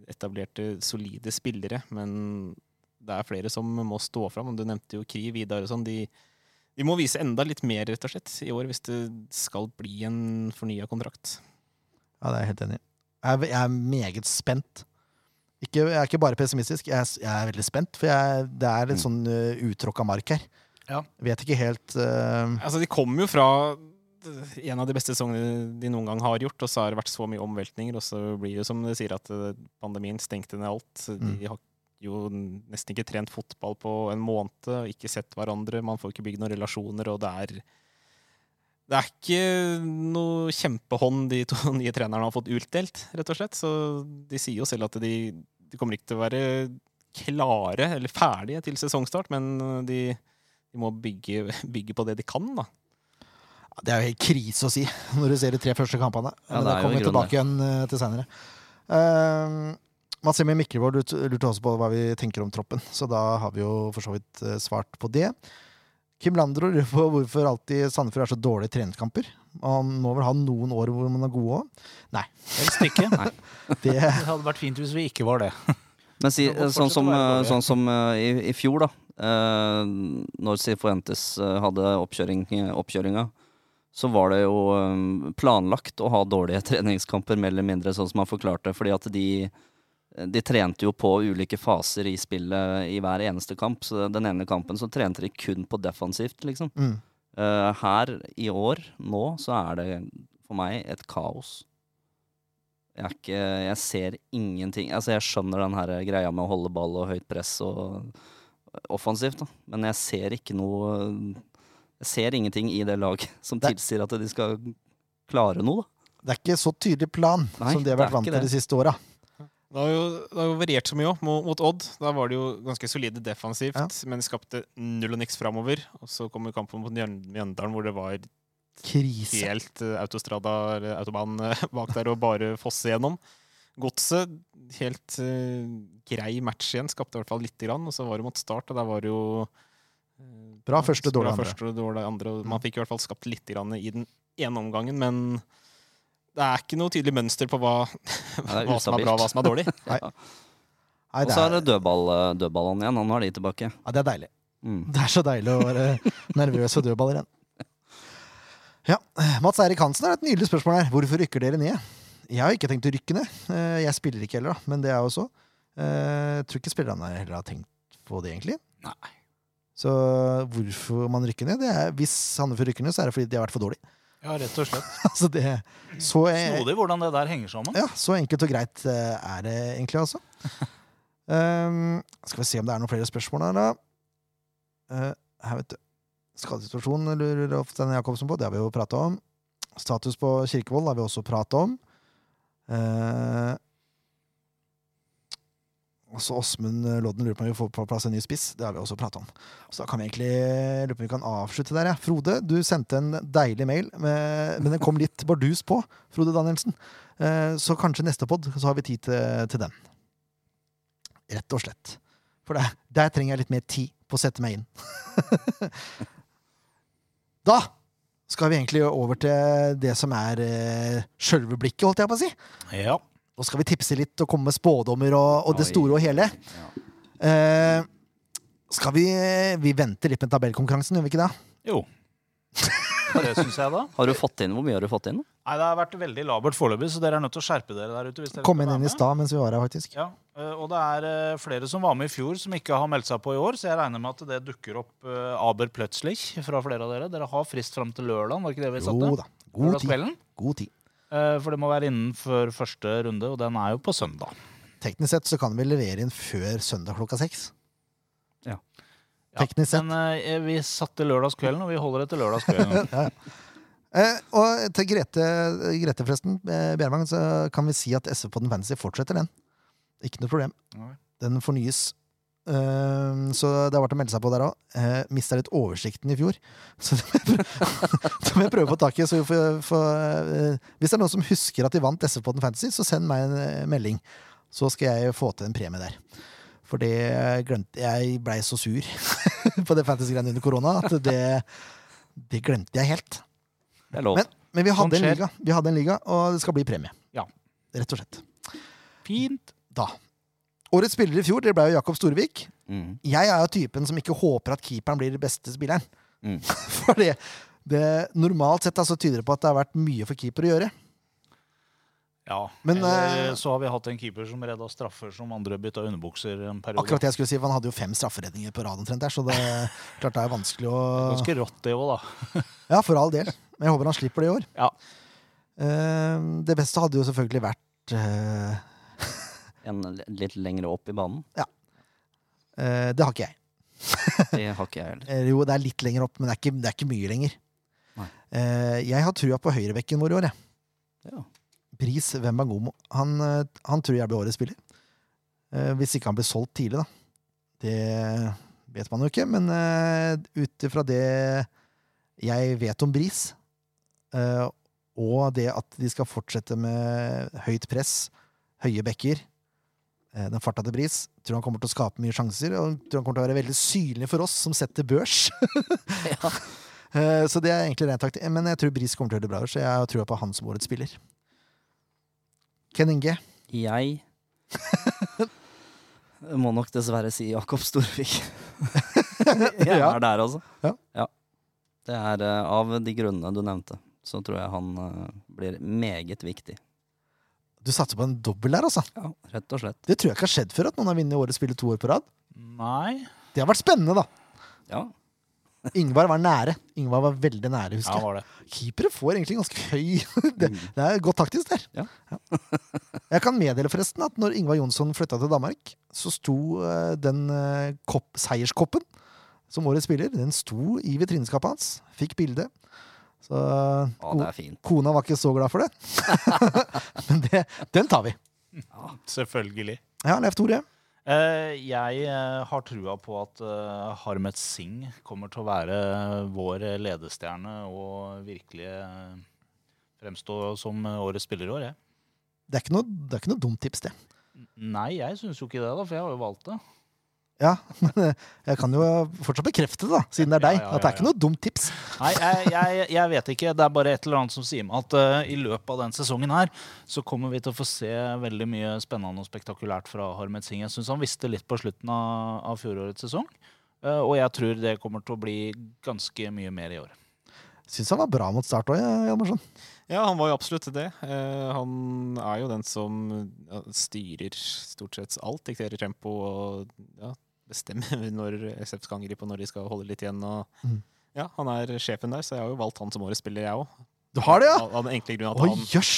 etablerte, solide spillere, men det er flere som må stå fram. og Du nevnte jo Kri, Vidar og sånn. De, de må vise enda litt mer rett og slett i år hvis det skal bli en fornya kontrakt.
Ja, det er jeg helt enig i. Jeg, er- jeg er meget spent. Ikke, jeg er ikke bare pessimistisk, jeg er, s- jeg er veldig spent. For jeg, det er litt sånn uh, uttråkka mark her.
Ja.
Vet ikke helt eh,
Altså, De kommer jo fra en av de beste sesongene de noen gang har gjort, og så har det vært så mye omveltninger, og så blir det som de sier, at eh, pandemien stengte ned alt.
Mm.
De har jo nesten ikke trent fotball på en måned, og ikke sett hverandre, man får ikke bygd noen relasjoner, og det er det er ikke noe kjempehånd de to nye trenerne har fått utdelt, rett og slett. Så de sier jo selv at de, de kommer ikke til å være klare eller ferdige til sesongstart, men de, de må bygge, bygge på det de kan, da.
ja, Det er jo helt krise å si når du ser de tre første kampene. Men
Ja, det
det
er jo
kommer vi
i grunnen
tilbake igjen eh, til seinere. Uh, Mads Emil Miklevold lurt- lurte også på hva vi tenker om troppen, så da har vi jo for så vidt eh, svart på det. Kim Landro lurer på hvorfor alltid Sandefjord er så dårlige treningskamper. Han må vel ha noen år hvor man er gode òg?
Helst ikke.
Det
Det hadde vært fint hvis vi ikke var det.
Men si,
Det må
sånn
fortsette å
som,
være
eh,
dårlig.
sånn som eh, i, i fjor, da. eh, Når Sifuentes eh, hadde oppkjøring, eh, oppkjøringa, så var det jo eh, planlagt å ha dårlige treningskamper, mer eller mindre, sånn som han forklarte. Fordi at de, de trente jo på ulike faser i spillet i hver eneste kamp. Så den ene kampen så trente de kun på defensivt, liksom.
mm.
Eh, her i år, nå, så er det for meg et kaos. Jeg, er ikke, jeg ser ingenting Altså, jeg skjønner den her greia med å holde ball og høyt press og offensivt, da. Men jeg ser ikke noe Jeg ser ingenting i det laget som
Det-
tilsier at de skal klare noe, da.
Det er ikke så tydelig plan
Nei,
som de har
det er
vært vant
ikke
til
det.
de siste åra.
Det har jo, det har jo variert så mye også, mot, mot Odd. Da var det jo ganske solide defensivt, men skapte null og niks framover. Og så kom jo kampen mot Mjøn- Mjøndalen, hvor det var
Krise.
helt eh, autostrada eller autobahn eh, bak der og bare fosse gjennom. Godset, helt eh, grei match igjen, skapte i hvert fall lite grann. Og så var det mot Start, og der var det jo eh,
Bra første, dårlig
bra
andre.
første og dårlig andre. Og man fikk i hvert fall skapt litt grann i den ene omgangen, men det er ikke noe tydelig mønster på hva,
er
hva som er bra og hva som er dårlig.
Nei,
Og
det
så
er,
er det dødball, eh, dødballene igjen. Han har de tilbake.
ja, det er deilig.
Mm.
Det er så deilig å være nervøs for dødballer igjen. Ja, Mats Eirik Hansen har et nydelig spørsmål her. Hvorfor rykker dere ned? Jeg har ikke tenkt å rykke ned. Eh, Jeg spiller ikke heller, da, men det er jo så. Eh, Jeg tror ikke spillerne heller har tenkt på det, egentlig.
Nei.
Så hvorfor man rykker ned? Det er, hvis Sandefjord rykker ned, så er det fordi de har vært for dårlige.
Ja, rett og slett.
Altså det, så,
Snodig hvordan det der henger sammen.
ja, så enkelt og greit eh, er det egentlig, altså. Um, skal vi se om det er noen flere spørsmål her, da. Eh, her, vet du. Skadesituasjonen lurer Stein Jacobsen på, det har vi jo prata om. Status på Kirkevold har vi også prata om. Eh, også Åsmund Lodden lurer på om vi får på plass en ny spiss. Det har vi også prata om. Så da kan vi egentlig lurer på om vi kan avslutte der, ja. Frode, du sendte en deilig mail, med, men den kom litt bardus på, Frode Danielsen. Eh, Så kanskje neste pod så har vi tid til, til den. Rett og slett. For der, der trenger jeg litt mer tid på å sette meg inn. da skal vi egentlig over til det som er eh, sjølve blikket, holdt jeg på å si.
Ja.
Nå skal vi tipse litt og komme med spådommer og, og det
Oi.
store og hele.
Ja.
Eh, skal vi Vi venter litt med tabellkonkurransen, gjør vi ikke det?
Jo. Det syns jeg, da.
Har du fått inn, Hvor mye har du fått inn?
Nei, Det har vært veldig labert foreløpig, så dere er nødt til å skjerpe dere der ute. hvis dere
Kom
skal
inn
være
inn i
med.
stad mens vi var her, faktisk.
Ja, eh, og det er eh, flere som var med i fjor som ikke har meldt seg på i år, så jeg regner med at det dukker opp eh, aber plötzlich fra flere av dere. Dere har frist fram til lørdag, var det ikke det vi
Jo
satte?
da. God tid.
Lørdagskvelden.
God tid.
Eh, For det må være innenfor første runde, og den er jo på søndag.
Teknisk sett så kan vi levere inn før søndag klokka seks.
Ja.
Teknisk sett.
Men eh, vi satte lørdagskvelden, og vi holder det til lørdagskvelden.
Eh, og til Grete, Grete forresten, eh, Bjervang, så kan vi si at SV på den fantasy fortsetter den. Ikke noe problem.
Nei.
Den fornyes. Eh, så det har vært å melde seg på der òg. Uh, Mista litt oversikten i fjor. Så det må jeg prøve, det må jeg prøve å få tak i. Så vi får, får, eh, hvis det er noen som husker at de vant SV på den fantasy, så send meg en eh, melding. Så skal jeg få til en premie der. For det eh, glemte Jeg blei så sur på det fantasy-greiene under korona at det, det glemte jeg helt.
Det er lov.
Men, men vi, hadde
Sånt
en
Sånn skjer.
liga. vi hadde en liga, og det skal bli premie.
Ja.
Rett og slett.
Fint.
Da. Årets spiller i fjor det ble jo Jakob Storvik.
Mm.
Jeg er jo typen som ikke håper at keeperen blir beste spilleren.
Mm.
For det, det, normalt sett da, så tyder det på at det har vært mye for keeper å gjøre.
Ja.
Men,
Eller
eh,
så har vi hatt en keeper som redda straffer som andre bytta underbukser en periode.
Akkurat det jeg skulle si, for Han hadde jo fem strafferedninger på rad omtrent der, så det, klart det er vanskelig å
Ganske rått, det òg, da.
Ja, for all del. Men jeg håper han slipper det i år.
Ja.
Eh, det beste hadde jo selvfølgelig vært eh,
En l- litt lengre opp i banen.
eh, Det har ikke jeg.
Det har ikke jeg heller.
Eh, Jo, det er litt lenger opp, men det er ikke, det er ikke mye lenger.
Nei.
Eh, jeg har trua på høyrebekken vår i år, jeg.
Ja.
Bris Wembangomo. Han, eh, han tror jeg blir årets spiller. Eh, hvis ikke han blir solgt tidlig, da. Det vet man jo ikke, men eh, ut ifra det jeg vet om Bris, eh, og det at de skal fortsette med høyt press, høye bekker, eh, den farta til Bris, tror han kommer til å skape mye sjanser, og tror han kommer til å være veldig synlig for oss som setter børs.
Ja.
Eh, Så det er egentlig rent taktikk. Men jeg tror Bris kommer til å gjøre det bra, så jeg har trua på han som årets spiller. Ken Inge.
Jeg må nok dessverre si Jakob Storvik. jeg
Ja.
er der, altså.
Ja.
Det er eh, av de grunnene du nevnte, så tror jeg han eh, blir meget viktig.
Du satser på en dobbel der, altså.
Ja, rett og slett.
Det tror jeg ikke har skjedd før, at noen har vunnet årets spiller to år på rad.
Nei.
Det har vært spennende, da.
Ja.
Ingvar var nære. Ingvar var veldig nære,
Ja,
husker jeg.
var det.
Keepere får egentlig ganske høy Det, det er godt taktisk der.
Ja.
Jeg kan meddele forresten at når Ingvar Jonsson flytta til Danmark, så sto eh, den eh, kopp, seierskoppen som årets spiller, den sto i vitrineskapet hans. Fikk bilde. Så
ja, det er fint.
Kona var ikke så glad for det. Men det, den tar vi.
Selvfølgelig.
Ja, Leif Tore.
Eh, jeg eh, har trua på at eh, Harmet Singh kommer til å være vår ledestjerne og virkelig eh, fremstå som eh, årets spiller i år. Jeg.
Det er ikke noe, det er ikke noe dumt tips, det.
Nei, jeg syns jo ikke det, da, for jeg har jo valgt det.
Ja, men jeg kan jo fortsatt bekrefte det, da, siden det er deg.
Ja, ja, ja,
At det er ikke
ja.
noe dumt tips.
Nei, jeg, jeg, jeg vet ikke. Det er bare et eller annet som sier meg at eh, i løpet av den sesongen her så kommer vi til å få se veldig mye spennende og spektakulært fra Harmet Singh. Jeg syns han visste litt på slutten av, av fjorårets sesong. eh, og jeg tror det kommer til å bli ganske mye mer i år.
Syns han var bra mot start òg, Hjalmarsson.
Ja, han var jo absolutt det. Eh, han er jo den som ja, styrer stort sett alt. Dikterer tempo og ja, bestemmer når SF skal angripe og når de skal holde litt igjen. Og,
Mhm.
Ja, Han er sjefen der, så jeg har jo valgt han som årets spiller, jeg òg.
Du har det, ja?
Av av den enkle grunn at,
Å,
han-
jøss!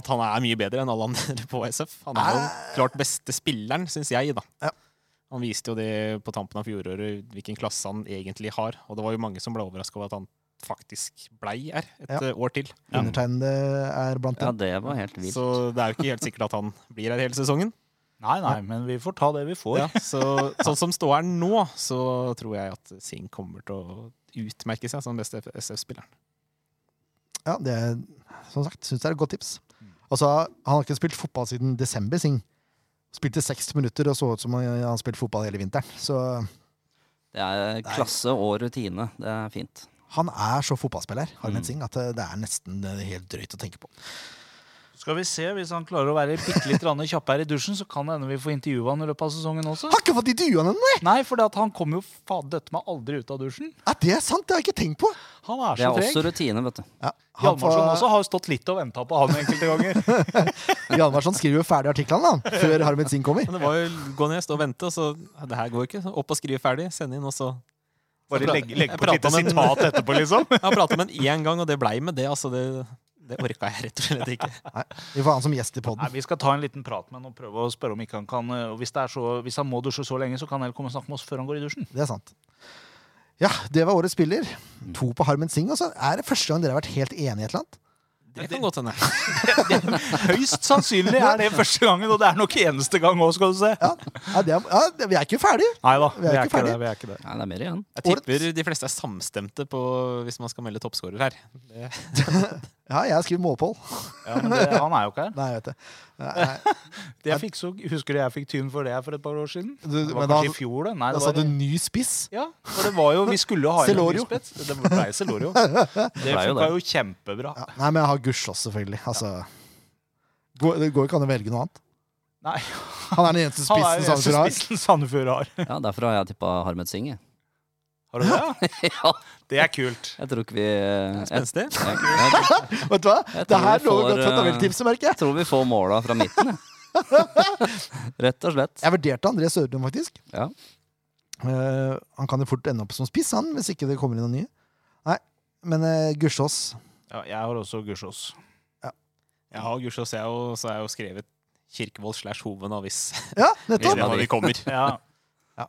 at han er mye bedre enn alle andre på SF. Han er jo
Æ.
klart beste spilleren, syns jeg, da.
Eh. Ja.
Han viste jo det på tampen av fjoråret, hvilken klasse han egentlig har. Og det var jo mange som ble overraska over at han faktisk blei her et
Ja.
eh, år til.
Undertegnede er blant
Ja,
dem.
det var helt vilt.
Så det er jo ikke helt sikkert at han blir her hele sesongen.
Nei, nei, men vi får ta det vi får.
Ja, så, sånn som står her nå, så tror jeg at Singh kommer til å utmerke seg som beste SF-spilleren.
Ja, det er, som sagt, syns det er et godt tips. Altså, han har ikke spilt fotball siden desember, Sing. Spilte 60 minutter og så ut som han han spilte fotball hele vinteren. Så
Det er klasse og rutine. Det er fint.
han er så fotballspiller, Harmet Singh, at eh, det er nesten helt drøyt å tenke på.
Skal vi se, Hvis han klarer å være bitte litt grann kjappere i dusjen, så kan det hende vi får intervjue han i løpet av sesongen også.
Har ikke fått intervjua henne, nei!
Nei, for han kommer jo fadette meg aldri ut av dusjen.
Er det sant? Det har jeg ikke tenkt på!
Han er
Det
så
er også
treg.
rutine, vet du.
Ja, han
Hjalmarsson
får-
også har jo stått litt og venta på han enkelte ganger.
Hjalmarsson skriver jo ferdig artiklene da, før Harmet Singh kommer.
Men det var jo gå ned, stå og vente, og så ja, Det her går jo ikke. Så Opp og skrive ferdig, sende inn, og så
Bare
Jeg
legge, legge på et
pratet
lite
om en-
sitat etterpå, liksom.
Jeg har prata med en én gang, og det blei med det. Altså, det, det orka jeg rett og slett ikke.
Nei, vi får ha han som gjest i
Nei,
poden.
Vi skal ta en liten prat med han og prøve å spørre om ikke han kan eh, og hvis, det er så, hvis han må dusje så lenge, så kan han heller komme og snakke med oss før han går i dusjen.
Det er sant. Ja, det var årets spiller. To på Harmen Singh. Altså, er det første gang dere har vært helt enige i et eller annet?
Det kan godt hende.
Høyst sannsynlig er det første gangen, og det er nok eneste gang òg, skal du se.
Ja, ja, det er, ja det, vi er ikke ferdige.
Nei da,
Vi er ikke ferdig.
vi er ikke det.
Nei, det er mer igjen.
Jeg tipper de fleste er samstemte på hvis man skal melde toppskårer her. Det,
Ja, jeg skriver målpål.
Ja, men det, han er jo ikke her.
Nei, jeg vet det. Nei, nei.
Det jeg fikk så, husker du jeg fikk tyn for det for et par år siden?
Du-
Det
men
var
da-
kanskje i fjor, det. Nei,
Da
det
sa
var
du ny spiss.
Ja, for det var jo Vi skulle jo ha inn en
Celorio.
nyspett. Det ble Celorio. Det
ble jo
funka jo kjempebra.
Ja, nei, men jeg har Gusjås, selvfølgelig. Altså, går, det går ikke an å velge noe annet.
Nei,
Han er den eneste
han
spissen
er jo eneste
Sandefjord har.
spissen Sandefjord har.
Ja, Derfor har jeg tippa Harmet Singh. jeg.
Har du det?
Ja,
Det er kult.
jeg tror ikke vi eh, jeg,
spenstig.
jeg, jeg,
Vet du hva? Det
Jeg tror
her
vi
lover
får, eh,
godt for tabelltipset, merker jeg.
tror vi får måla fra midten, jeg. Rett og slett.
Jeg vurderte André Sørdum, faktisk.
Ja.
Eh, han kan jo fort ende opp som spiss, han, hvis ikke det kommer inn noen nye. Nei, men uh, Gusjås
Ja, jeg har også Gussiås.
Jeg har Gusjås, jeg, og så har jeg jo skrevet Kirkevold slash Hoven, da, hvis,
Ja,
hvis
nettopp!
det er hva vi kommer.
Ja,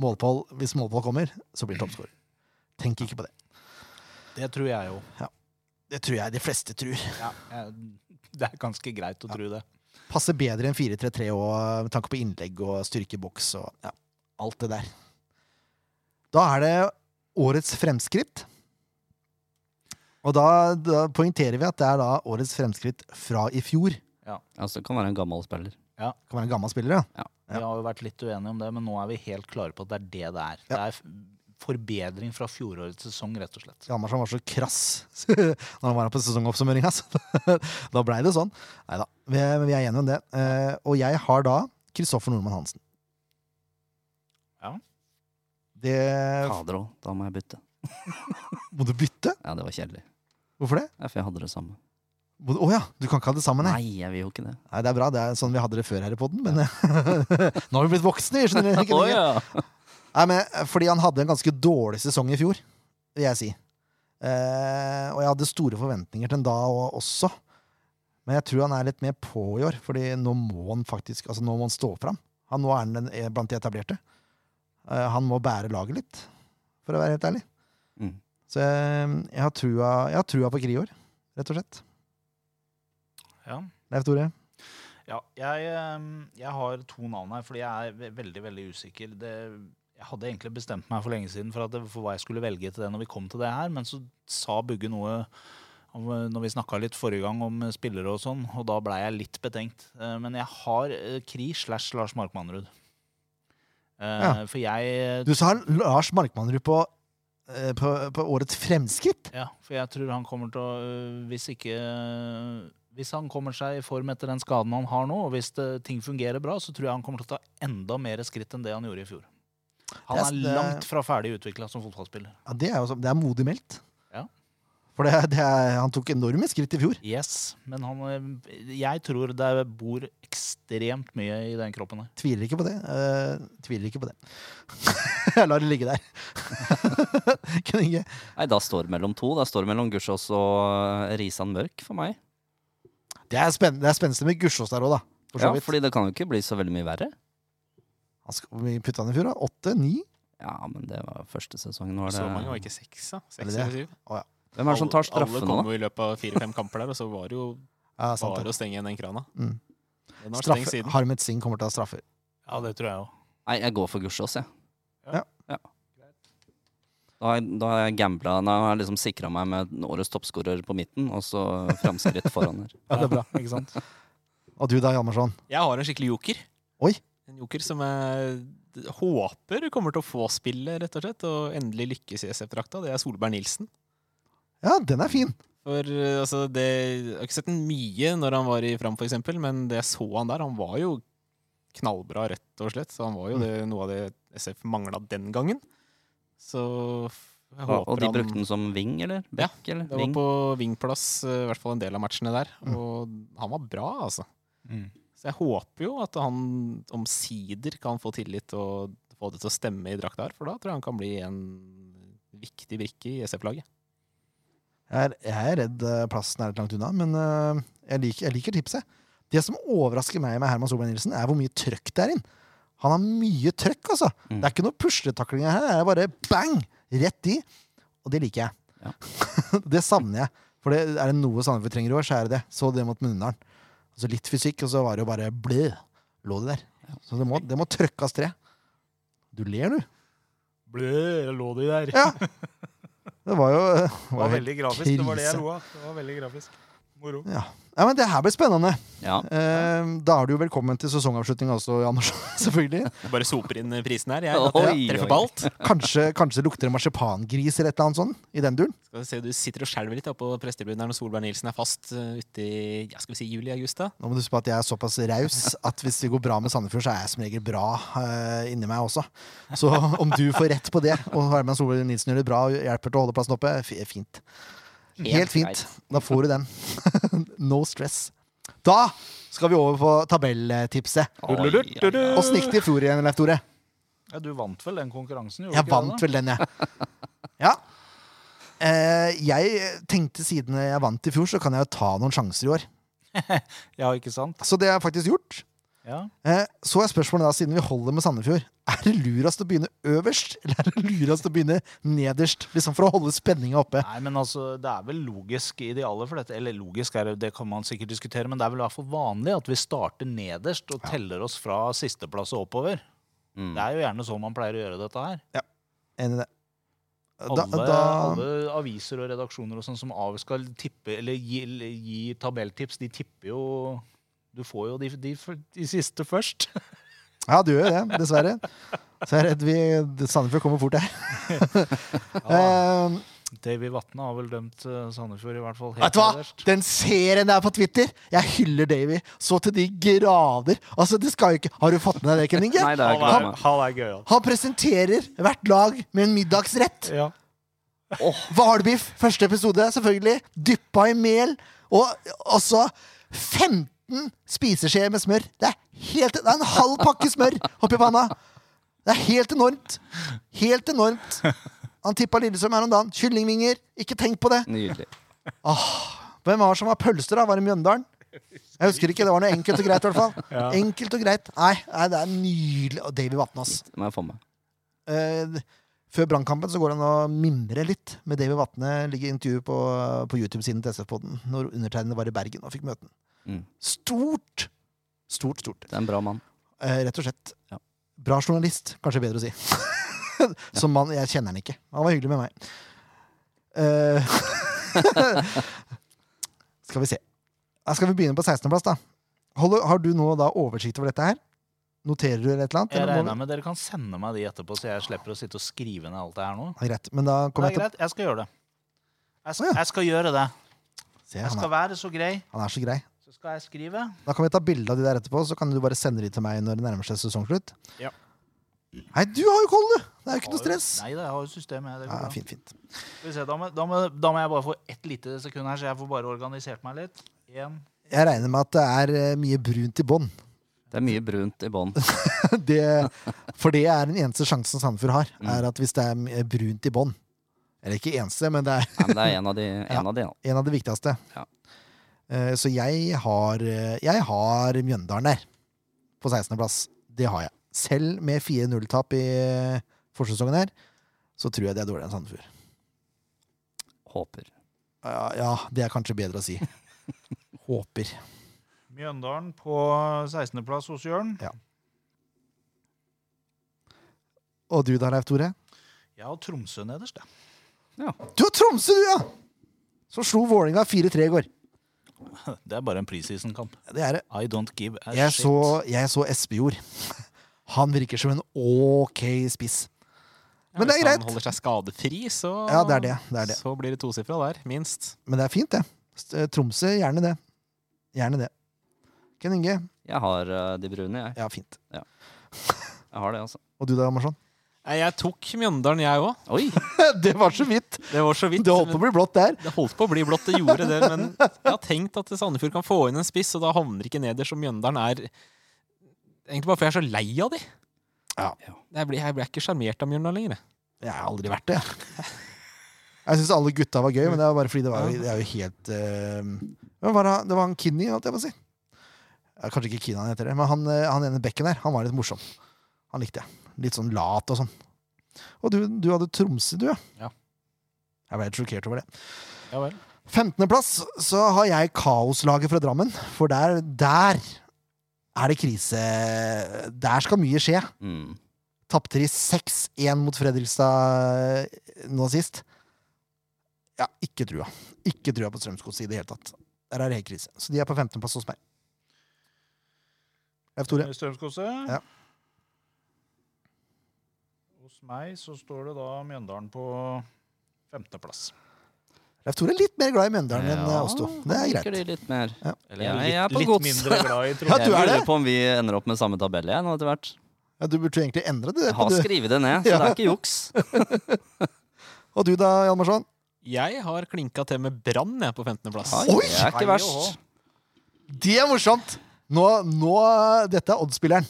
Målpål, hvis målpål kommer, så blir det toppskårer. Tenk ikke på det.
det tror jeg jo.
Det tror jeg de fleste tror.
Ja, jeg, det er ganske greit å tro det.
Passer bedre enn 4-3-3 og med tanke på innlegg og styrke i boks og ja, alt det der. Da er det årets fremskritt. Og da, da poengterer vi at det er da årets fremskritt fra i fjor. Det
Altså, det kan være en gammel spiller.
kan være en gammel spiller, ja.
Vi har jo vært litt uenige om det, men nå er vi helt klare på at det er det det er. Det er f- forbedring fra fjorårets sesong, rett og slett.
Hjalmarsson var så krass når han var her på sesongoppsummeringa. så da blei det sånn. Nei da, vi, er- vi er enige om det. Eh, og jeg har da Kristoffer Nordmann Hansen.
Ja.
Det
Fader òg, da må jeg bytte.
Må du bytte?
Ja, det var kjedelig.
Hvorfor det?
Ja, for jeg hadde det samme.
Å du, å ja, du kan ikke ha det sammen, nei.
Nei, jeg vil jo ikke det.
nei. Det er bra, det er sånn vi hadde det før her i poden, men nå har vi blitt voksne. vi skjønner ikke lenger. Nei, men eh, Fordi han hadde en ganske dårlig sesong i fjor, vil jeg si. Eh, og jeg hadde store forventninger til han da og- også. Men jeg tror han er litt mer på i år, Fordi nå må han faktisk Altså nå må han stå fram. Han, nå er han den, er blant de etablerte. Eh, han må bære laget litt, for å være helt ærlig.
Mm.
Så jeg, jeg, har trua, jeg har trua på Krior, rett og slett.
Ja.
Leif Tore.
Ja, jeg, ehm, jeg har to navn her, fordi jeg er ve- veldig veldig usikker. Det, jeg hadde egentlig bestemt meg for lenge siden for, at, det- for hva jeg skulle velge til det når vi kom til det her, men så sa Bugge noe om, eh, når vi snakka litt forrige gang om eh, spillere og sånn, og da blei jeg litt betenkt. Eh, Men jeg har eh, Kri slash Lars Markmannrud. Eh,
Ja.
For jeg
Du sa Lars Markmannrud på, eh, på, på årets fremskritt.
Ja, for jeg tror han kommer til å øh, Hvis ikke øh, Hvis han kommer seg i form etter den skaden han har nå, og hvis det, ting fungerer bra, så tror jeg han kommer til å ta enda mer skritt enn det han gjorde i fjor. Han
Det
er
er-
langt fra ferdig utvikla som fotballspiller.
Ja, det er jo så- det er modig meldt.
Ja.
For det, det er, han tok enorme skritt i fjor.
Yes, men han øh, Jeg tror det bor ekstremt mye i den kroppen her.
Tviler ikke på det. eh, tviler ikke på det. Jeg lar det ligge der. Kunne ikke
Nei, da står det mellom to. Da står det mellom Gussiås og eh, Risan Mørk for meg.
Det er spennende, det er spennende med Gussiås der òg, da. For så
Ja,
vidt.
fordi det kan jo ikke bli så veldig mye verre.
Han skal, hvor mye putta han i fjor, da? Åtte? Ni?
Ja, men det var første sesongen. Var det...
Så mange var ikke seks, da. Seks
Eller
eller
det.
syv.
Hvem er det som tar
Alle
straffene,
kom
da?
jo i løpet av fire-fem kamper der, og så var det jo
Ja, sant
bare
det.
å stenge igjen den krana.
Mm.
Den har stengt
Straffe.
siden.
Harmet Singh kommer til å ha straffer.
Ja, det tror jeg òg.
Nei, jeg går for Gussiås, jeg.
Ja.
Ja. Da har jeg, da har jeg gambla Da har jeg liksom sikra meg med årets toppskårer på midten, og så framskritt foran her.
Ja, det er bra.
Ikke sant?
Og du da, Hjalmarsson?
Jeg har en skikkelig joker.
Oi.
En joker som jeg håper kommer til å få spillet, rett og slett, og endelig lykkes i SF-drakta. Det er Solberg Nilsen.
Ja, den er fin.
For eh, altså, det, Jeg har ikke sett den mye når han var i Fram, for eksempel, men det jeg så han der, han var jo knallbra, rett og slett. Så han
Mm.
var jo det, noe av det SF mangla den gangen. Så jeg
Og,
håper
og de
han
brukte den som wing, eller?
Ja,
Back, eller?
Det var
Wing.
på vingplass, eh, i hvert fall en del av matchene der.
Mm.
Og han var bra, altså.
Mm.
Så jeg håper jo at han omsider kan få tillit og få det til å stemme i drakta her, for da tror jeg han kan bli en viktig brikke i SF-laget.
Jeg er, jeg er redd eh, plassen er litt langt unna, men eh, jeg, liker, jeg liker tipset. Det som overrasker meg med Herman Solberg Nilsen, er hvor mye trøkk det er inn. Han har mye trøkk, altså.
Mm.
Det er ikke noe pusletaklinger her. Det er bare bang! Rett i. Og det liker jeg.
Ja.
det savner jeg. For det er det noe Sandefjord trenger i år, så er det det. Så det mot Munnarn. Altså litt fysikk, og så var det jo bare blø. Lå det der. Så det må, det må trøkkes tre. Du ler, du.
Blø, lå de der.
Ja. Det var jo det
Det
var
var
helt
veldig grafisk. Det var det
krise.
jeg lo av. Det var veldig grafisk. Moro.
Ja. ja, men det her blir spennende.
Ja.
Eh, da er du jo velkommen til sesongavslutning også, Andersson. Selvfølgelig.
Jeg bare soper inn prisen her, jeg.
Oi,
At
oi,
jeg
oi.
treffer på alt.
Kanskje, kanskje det lukter marsipangris eller et eller annet sånt i den duren.
Skal vi se, Du sitter og skjelver litt da på prestetribunen her når Solberg Nilsen er fast eh, ute i ja, skal vi si juli-august. da?
Nå må du huske på at jeg er såpass raus at hvis det går bra med Sandefjord, så er jeg som regel bra eh, inni meg også. Så om du får rett på det, og Herman Solveig Nilsen gjør det bra og hjelper til å holde plassen oppe, f- fint. Helt fint. Da får du den. No stress. Da skal vi over på tabelltipset. Åssen gikk det i fjor igjen, Leif Tore?
Ja, du vant vel den konkurransen? gjorde
Jeg
du ikke det, da?
vant vel den, jeg. Ja. Eh, jeg tenkte siden jeg vant i fjor, så kan jeg jo ta noen sjanser i år.
Ja, ikke sant?
Så det har jeg faktisk gjort.
Ja.
Eh, så er spørsmålet da, siden vi holder med Sandefjord, er det lurast å begynne øverst, eller er det lurast å begynne nederst? Liksom for å holde spenninga oppe.
Nei, men altså, Det er vel logisk i de aller fleste Eller logisk er det, det kan man sikkert diskutere, men det er vel i hvert fall vanlig at vi starter nederst og teller oss fra sisteplass og oppover.
Mm.
Det er jo gjerne sånn man pleier å gjøre dette her.
Enig i det. Da,
Alle,
da,
alle aviser og redaksjoner og sånn som av skal tippe eller gi, eller gi tabelltips, de tipper jo Du får jo de, de, de siste først.
ja, du gjør jo det, dessverre. Så jeg er redd vi Sandefjord kommer fort her. Eh,
Davy Vatne har vel dømt eh, Sandefjord, i hvert fall.
Vet du hva? Den serien der på Twitter! Jeg hyller Davy så til de grader. Altså, det skal jo ikke Har du fått med deg det, Kenninge?
Nei, det er ikke
Han
meg.
er, han er gøyal.
Han presenterer hvert lag med en middagsrett.
Ja.
Hvalbiff, første episode, selvfølgelig. Dyppa i mel. Og også 15 spiseskjeer med smør. Det er, helt, det er en halv pakke smør oppi panna! Det er helt enormt. Helt enormt. Han tippa Lillestrøm her om dagen. Kyllingvinger. Ikke tenk på det.
Nydelig.
Hvem var det som var pølser, da? Var det Mjøndalen? Jeg husker ikke. Det var noe enkelt og greit, i hvert fall. Enkelt og greit. Nei, nei, det er nydelig. Og Davy Vatne, ass.
Det må jeg få med.
Eh, før brannkampen så går det an å mimre litt med Davy Vatne. Ligger i intervju på, på YouTube-siden til SF-podden når undertegnede var i Bergen og fikk møte den.
Mm.
Stort! Stort, stort.
Det er en bra mann.
Eh, rett og slett.
Ja.
Bra journalist, kanskje bedre å si. Som mann Jeg kjenner han ikke. Han var hyggelig med meg. Eh, skal vi se. Da skal vi begynne på 16.-plass, da. Holde, har du nå da oversikt over dette her? Noterer du eller et eller annet?
Jeg
eller må vi-
regner med dere kan sende meg de etterpå, så jeg slipper å sitte og skrive ned alt det her nå.
Ja, Greit, men da
Det
kommer
er
jeg til
greit, jeg skal gjøre det. Jeg
Å,
skal,
ja.
jeg skal gjøre det.
Se,
Jeg
han, er,
skal være så grei.
han er så grei.
Så skal jeg skrive.
Da kan vi ta bilde av de der etterpå, så kan du bare sende de til meg når det nærmer seg sesongslutt.
Ja.
Nei, du har jo koll, du! Det er jo ikke noe stress.
Nei, det har jo systemet. jeg, Det
Ja,
går bra.
fint, fint.
Skal vi se, da, må, da, må, da må jeg bare få ett lite sekund her, så jeg får bare organisert meg litt. En.
Jeg regner med at det er eh, mye brunt i bånn.
Det er mye brunt i bånn.
Det- For det er den eneste sjansen Sandefjord har, er at hvis det er mye brunt i bånn Eller ikke eneste, men det er
Nei, men Det er en av de, en av de ja.
en av de viktigste.
Ja.
Eh, Så jeg har, eh, jeg har Mjøndalen der, på 16.-plass. Det har jeg. Selv med 4-0-tap i eh, forsesongen her, så tror jeg det er dårligere enn Sandefjord.
Håper.
Ja, ja, det er kanskje bedre å si. Håper.
Mjøndalen på 16.-plass hos Jørn.
Og du da, Leif Tore?
Jeg har Tromsø nederst, jeg.
Du har Tromsø, du, ja! Som slo Vålinga 4-3 i går.
Det er bare en preseason-kamp.
Det er det.
I don't give
Ah,
a
Jeg
shit.
så, jeg så Espejord. Han virker som en ok spiss. Men det er
Hvis
greit.
han holder seg skadefri, så,
Ja, det er det. det, er det.
så blir det tosifra der, minst.
Men det er fint, det. St- Tromsø, gjerne det. Gjerne det. Ken Inge?
Jeg har eh, de brune, jeg.
Ja, fint.
Jeg har det, altså.
Og du da, Marsson?
Nei, Jeg tok Mjøndalen, jeg òg.
Oi!
det var så vidt!
Det var så vidt.
Det holdt
men-
på å bli blått der.
Det holdt på å bli blått, det gjorde det, men jeg har tenkt at Sandefjord kan få inn en spiss, og da havner ikke nederst, og Mjøndalen er Egentlig bare fordi jeg er så lei av de.
Ja.
Jeg blir, jeg blir ikke sjarmert av Mjøndalen lenger. jeg.
Jeg har aldri vært det. jeg. Jeg syns alle gutta var gøy, men det var bare fordi det var det er jo helt eh, men var det, det var han Kinney, holdt jeg på å si. Ja, kanskje ikke Kinney han heter det, men han, eh, han ene bekken der, han var litt morsom. Han likte jeg. Litt sånn lat og sånn. Og du, du hadde Tromsø, du,
Ja.
Jeg ble helt sjokkert over det.
Ja vel.
15.-plass så har jeg Kaoslaget fra Drammen, for der, der er det krise. Der skal mye skje.
Mm.
Tapte de 6-1 mot Fredrikstad eh, nå sist. Ja, ikke trua. Ikke trua på Strømsgodset i det hele tatt. Der er det helt krise. Så de er på 15.-plass hos meg. Leif Tore.
Strømskose.
Ja.
Hos meg så står det da Mjøndalen på femteplass.
Leif Tore er litt mer glad i Mjøndalen enn eh, oss to. Det er
liker
greit.
De litt mer.
Ja.
Eller
Ja,
litt,
jeg er på
litt
gods.
mindre glad i
Ja,
Tromsø.
du er
jeg
det.
lurer på om vi ender opp med samme tabell jeg, nå etter hvert.
Ja, du burde jo egentlig endre det.
Jeg har
Du.
skrevet det ned, så det er ikke juks.
Og du da, Hjalmarsson?
Jeg har klinka til med Brann jeg, på 15.-plass.
Ai,
Oi!
Det er ikke verst.
Det er morsomt! Nå, nå Dette er oddsspilleren.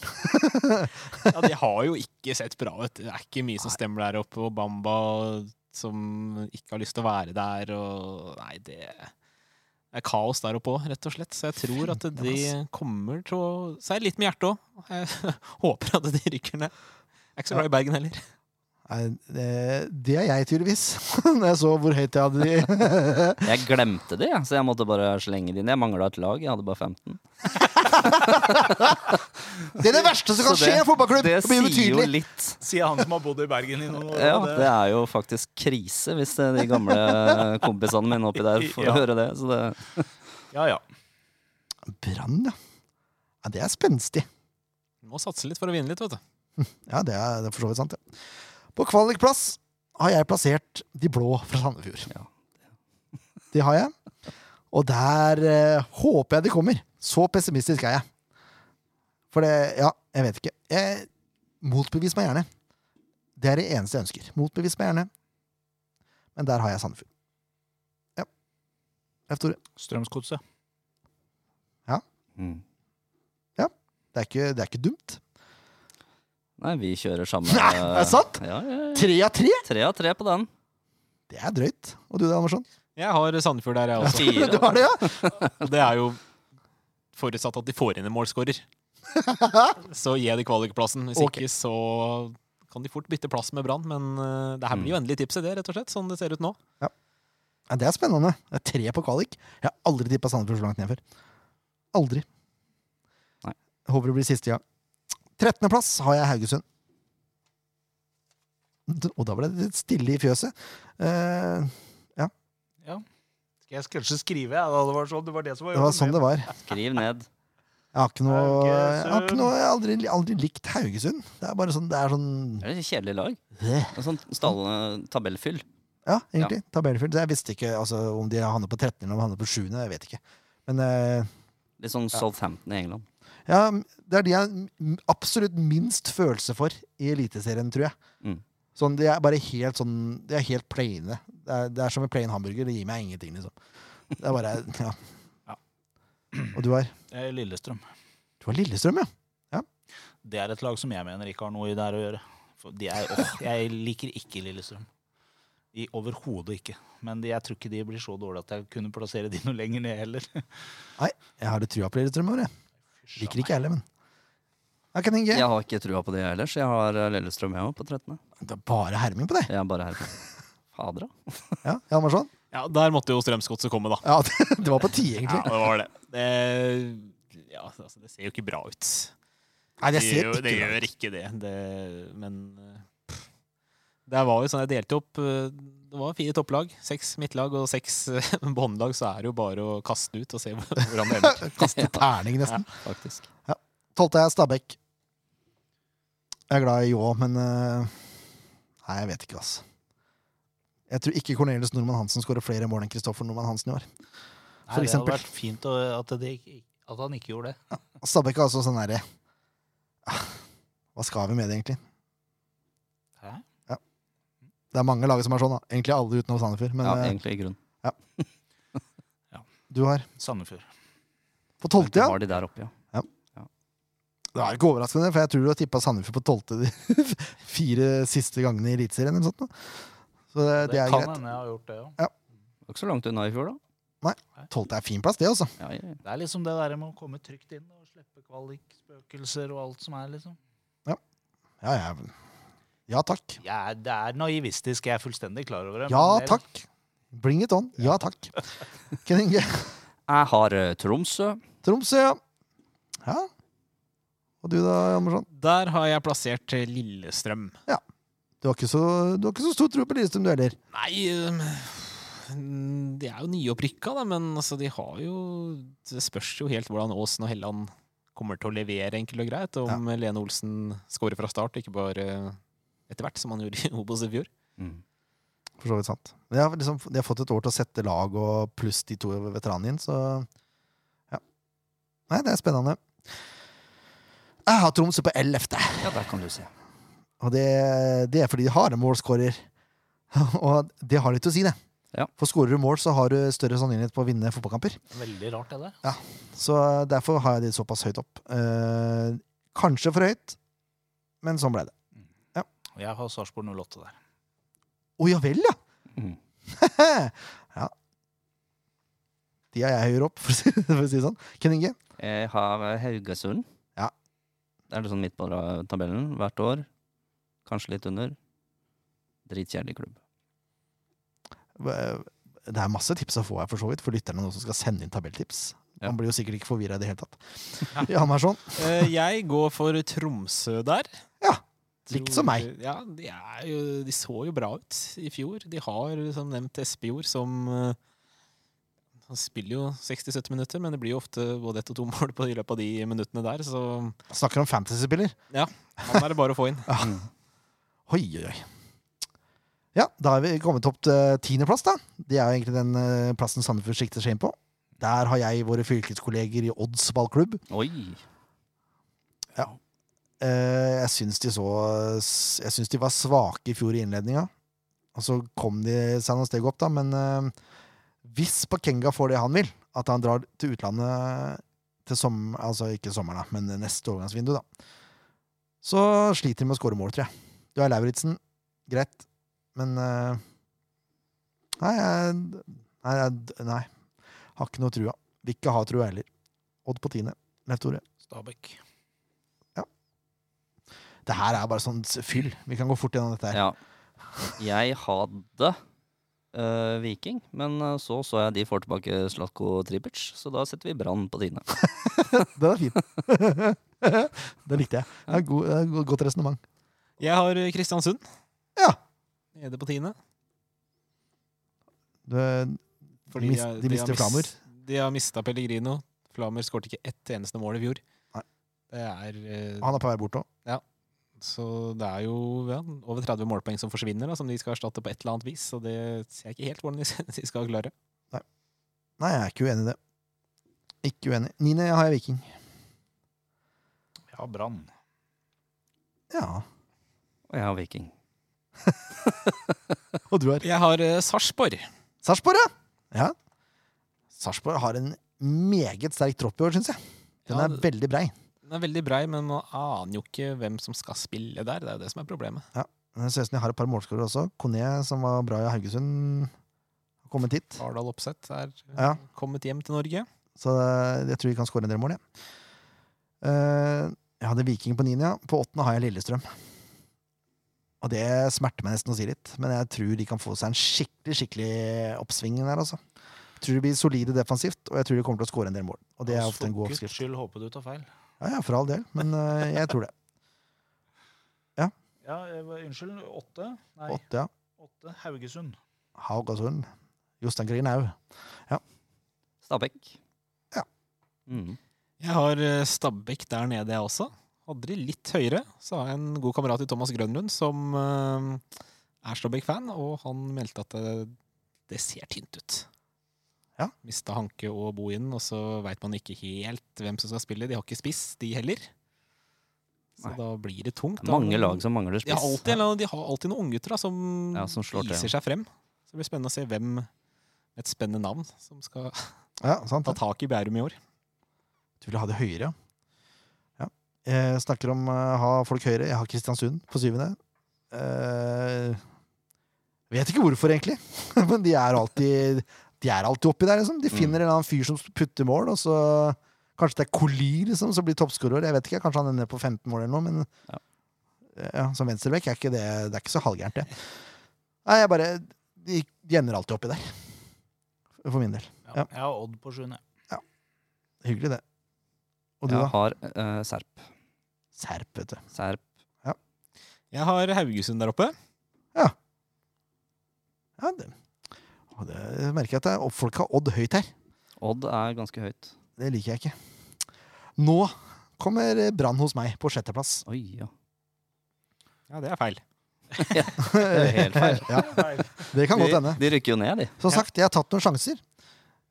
Ja, de har jo ikke sett bra ut. Det er ikke mye som stemmer der oppe, og Bamba som ikke har lyst til å være der, og Nei, det er kaos der oppe òg, rett og slett. Så jeg tror at de kommer til å Så er jeg litt med hjertet òg. Jeg håper at de rykker ned. Jeg er ikke så glad i Bergen heller.
Nei, det, det er jeg tydeligvis. Når jeg så hvor høyt jeg hadde de
Jeg glemte det, jeg, så jeg måtte bare slenge det inn. Jeg mangla et lag, jeg hadde bare 15.
Det er det verste som kan
Så
skje i en fotballklubb!
det
Det blir
sier jo
ubetydelig.
litt.
Sier han som har bodd i Bergen i noen år.
Ja,
og
det er jo faktisk krise hvis det er de gamle kompisene mine oppi der får
Ja.
høre det. Så det
ja, ja.
Brann, ja. ja. Det er spenstig.
Må satse litt for å vinne litt, vet du.
Ja, det er, det er for så vidt sant, ja. På kvalikplass har jeg plassert De blå fra Sandefjord.
Ja.
Det har jeg. Og der eh, håper jeg de kommer. Så pessimistisk er jeg. For det Ja, jeg vet ikke. Jeg, motbevis meg gjerne. Det er det eneste jeg ønsker. Motbevis meg gjerne. Men der har jeg Sandefjord. Ja. Leif Tore.
Strømsgodset.
mm.
Det er ikke, det er ikke dumt.
Nei, vi kjører samme
Nei, er det sant?
Ja, ja, ja.
Tre av tre!
Tre av tre på den.
Det er drøyt. Og du da, Andersson?
Jeg har Sandefjord der, jeg også.
Du
Fire.
har det, ja?
Og det er jo forutsatt at de får inn en målskårer. Så gi de kvalikplassen. Hvis
Ok.
ikke så kan de fort bytte plass med Brann, men eh, det her blir jo endelig tipset, det, rett og slett, sånn det ser ut nå.
Ja, det er spennende. Det er tre på kvalik. Jeg har aldri tippa Sandefjord så langt ned før. Aldri.
Nei.
Håper det blir siste gang. 13. plass har jeg Haugesund. D- Og da ble det litt stille i fjøset. Eh,
Skal jeg kanskje skrive? Ja, da det, var sånn, det var det som var
det var sånn det var.
Skriv ned.
Jeg har ikke noe Jeg har ikke noe, jeg har aldri, aldri likt Haugesund. Det er bare sånn, det er sånn
Det er et kjedelig lag.
Bleh.
En sånn stall, tabellfyll.
Ja, egentlig. Tabellfylt. Så Jeg visste ikke altså, om de havner på 13. eller om de havner på 7. Jeg vet ikke. Men eh,
Litt sånn Southampton i England.
ja, det er de jeg har m- absolutt minst følelse for i Eliteserien, tror jeg.
Mm.
Sånn, De er bare helt sånn De er helt plaine. Det er, det er som en plain hamburger. Det gir meg ingenting, liksom. Det er bare Ja.
Ja.
Og du er
Eh, Lillestrøm.
Du er Lillestrøm, ja?
Det er et lag som jeg mener ikke har noe i det her å gjøre. For de er, åh, jeg liker ikke Lillestrøm. I Overhodet ikke. Men de, jeg tror ikke de blir så dårlige at jeg kunne plassere de noe lenger ned heller.
Jeg har litt trua på Lillestrøm i år, jeg. Liker ikke jeg heller, men I can think, yeah.
Jeg har ikke trua på det jeg heller, så jeg har eh, Lillestrøm jeg òg, på 13.
Det er bare herming på deg.
Jeg er bare her. Fader, da.
Ja, Jan Marsson?
Ja, der måtte jo Strømsgodset komme, da.
Ja, det, det var på tide,
Ja,
egentlig.
det var det. Det, ja, altså, det ser jo ikke bra ut.
Nei, det
Det
ser
gjør,
ikke bra
det
ut.
gjør ikke det. det men eh, pff. det var jo sånn jeg delte opp eh, Det var fire topplag, seks midtlag og seks eh, båndlag, så er det jo bare å kaste ut og se hvor- hvordan det ender.
Kaste terning, nesten.
Faktisk.
Tolvte er Stabæk. Jeg er glad i Jå, men eh, Nei, jeg vet ikke, altså. Jeg tror ikke Cornelius Normann Hansen skårer flere mål enn Kristoffer Normann Hansen i år.
Nei,
for
det hadde
eksempel.
vært fint å- at, det, ikke- at han ikke gjorde det.
Stabæk er altså sånn herre Hva skal vi med det, egentlig?
Hæ?
Det er mange lag som er sånn, da. Egentlig alle utenom Sandefjord. Men
Ja,
eh,
egentlig i grunn.
du har
Sandefjord.
på tolvte, ja.
Har de der oppe, ja.
Det er ikke overraskende, for jeg tror du har tippa Sandefjord på tolvte de fire siste gangene i Eliteserien. eller sånt, da. Så det, det er
kan
greit.
hende jeg har gjort det òg.
Det var ikke så langt unna i fjor, da.
Tolvte er fin plass, det, altså.
Ja, ja, ja.
Det er liksom det der med å komme trygt inn og slippe kvalikspøkelser og alt som er, liksom.
Ja, ja. ja takk.
Jeg er, det er naivistisk, jeg er fullstendig klar over det.
Ja
men det-
takk. Bring it on. Ja takk. Ken Inge.
Jeg har eh, Tromsø.
Tromsø, ja. ja. Og du da, Andersson?
Der har jeg plassert eh, Lillestrøm.
Du har ikke så, du har ikke så stor tro på Lillestrøm, du heller.
Nei øhm, De er jo nyopprykka, da, men altså, de har jo Det spørs jo helt hvordan Aasen og Helland kommer til å levere, enkelt og greit. og Om Lene Olsen scorer fra start, ikke bare etter hvert, som han gjorde i Obos i fjor.
Mm. For så vidt sant. De har, liksom, de har fått et år til å sette lag, og pluss de to veteranene inn, så ja. Nei, det er spennende. Jeg har Tromsø på 11.
Ja, der kan du se.
Og det, det er fordi de har en målskårer. Og det har litt å si, det.
Ja.
For skårer du mål, så har du større sannsynlighet på å vinne fotballkamper.
Veldig rart, det der.
Så derfor har jeg det såpass høyt opp. Eh, kanskje for høyt, men sånn ble det.
Og Jeg har Sarpsborg 08 der.
Å ja vel, ja!
Mhm.
ja. De er jeg høyere opp, for å si, for å si det sånn. Ken Inge?
Jeg har eh, Haugesund.
Ja.
Det er litt sånn midt på ra- tabellen hvert år. Kanskje litt under. Dritkjedelig klubb.
eh, Det er masse tips å få her, for så vidt, for lytterne nå som skal sende inn tabelltips.
Ja.
Han blir jo sikkert ikke forvirra i det hele tatt. Jan Marsson,
Eh, Jeg går for Tromsø der.
Ja, likt som meg.
Tror- Ja, de, er jo, de så jo bra ut i fjor. De har, som nevnt, Espejord som eh, Han spiller jo 60-70 minutter, men det blir jo ofte både ett og to mål på i løpet av de minuttene der, så
snakker om fantasyspiller.
han er det bare å få inn.
Oi, oi, oi. Ja, da er vi kommet opp til tiendeplass, da. Det er jo egentlig den eh, plassen Sandefjord sikter seg inn på. Der har jeg våre fylkeskolleger i Odds ballklubb.
Oi!
Eh, jeg syns de så Jeg syns de var svake i fjor i innledninga. Og så kom de seg noen steg opp, da. Men eh, hvis Bakenga får det han vil, at han drar til utlandet til som, Altså ikke sommeren, da, men neste overgangsvindu, da. Så sliter de med å skåre mål, tror jeg. Du er Lauritzen. Greit. Men eh, Nei, jeg Nei, jeg nei. Har ikke noe trua. Vil ikke ha trua heller. Odd på tiende. Leif Tore.
Stabæk.
Det her er bare sånn s- fyll. Vi kan gå fort gjennom dette her.
Ja. Jeg hadde eh, Viking, men eh, så så jeg de får tilbake Slatko Tripic, så da setter vi Brann på dine.
Den er fin. Den likte jeg. Det er god, det er go- godt resonnement.
Jeg har eh, Kristiansund.
Ja.
Nede på tiende.
Du, eh, Mist-
har-
de mister
har mis-
Flamur.
De har mista Pellegrino. Kramer skåret ikke ett eneste mål i fjor.
Nei.
Det er, eh,
Han er på vei bort òg.
så det er jo ja, over 30 målpoeng som forsvinner, da, som de skal erstatte på et eller annet vis. Så det ser jeg ikke helt hvordan de de skal klare.
Nei, jeg er ikke uenig i det. Ikke uenig. Niende har jeg Viking.
Ja, Brann.
Ja.
Og jeg har Viking.
Og du har
Jeg har eh, Sarpsborg.
Sarpsborg, ja! ja. Sarpsborg har en meget sterk tropp i år, syns jeg. Den
Ja,
er veldig brei.
Den er veldig brei, men man aner jo ikke hvem som skal spille der. Det er jo det som er problemet.
Det ser ut som de har et par målskårere også. Kone, som var bra i Haugesund, har kommet hit.
Ardal Opseth er eh,
Ja.
kommet hjem til Norge.
Så jeg tror vi kan skåre en del mål, jeg. Eh, jeg hadde Viking på niende, ja. På åttende har jeg Lillestrøm. Og det smerter meg nesten å si litt, men jeg tror de kan få seg en skikkelig skikkelig oppsving der, altså. Jeg tror de blir solide defensivt, og jeg tror de kommer til å skåre en del mål. Og det er ofte en god
For
oppskrift.
guds skyld håper du tar feil.
Ja, ja, for all del, men eh, jeg tror det.
Ja, eh, unnskyld. Åtte? Nei,
Åtte, ja.
åtte. Haugesund.
Haugasund. Jostein Grinhaug.
Stabæk.
Ja.
Mm.
Jeg har eh, Stabæk der nede, jeg også. Hadde de litt høyere, så har jeg en god kamerat i Thomas Grønlund som eh, er Stabæk-fan, og han meldte at det, det ser tynt ut.
Ja.
Mista Hanke og Bohinen, og så veit man ikke helt hvem som skal spille. De har ikke spiss, de heller. Så
Nei.
da blir det tungt.
Det er mange lag som mangler
de har,
spiss.
alltid, en eller annen- de har alltid noen unggutter da, som,
Ja, som slår til.
viser seg frem. Så det blir spennende å se hvem et spennende navn som skal
Ja, sant.
ta tak i Bærum i år.
Du vil ha det høyere, ja. ja. Jeg snakker om å ha folk høyere. Jeg har Kristiansund på syvende. Eh, vet ikke hvorfor, egentlig. Men de er alltid De er alltid oppi der, liksom. De finner en eller annen fyr som putter mål, og så Kanskje det er Colir liksom, som blir toppskårer. Jeg vet ikke, Kanskje han ender på 15 mål eller noe, men
Ja.
Eh, ja, som venstrebekk er ikke det Det er ikke så halvgærent, det. Nei, jeg bare De, de ender alltid oppi der. For min del. Ja.
Ja. Jeg har Odd på sjuende.
Hyggelig, det. Og du,
Jeg
da?
har eh, Serp.
Serp, vet du.
Serp.
Jeg har Haugesund der oppe.
Ja, det, og det jeg merker jeg at det er, og folk har Odd høyt her.
Odd er ganske høyt.
Det liker jeg ikke. Nå kommer Brann hos meg på sjetteplass.
Oi, ja.
Ja, det er feil.
er helt feil.
ja, det kan godt hende.
De, de rykker jo ned, de.
Som sagt, jeg har tatt noen sjanser.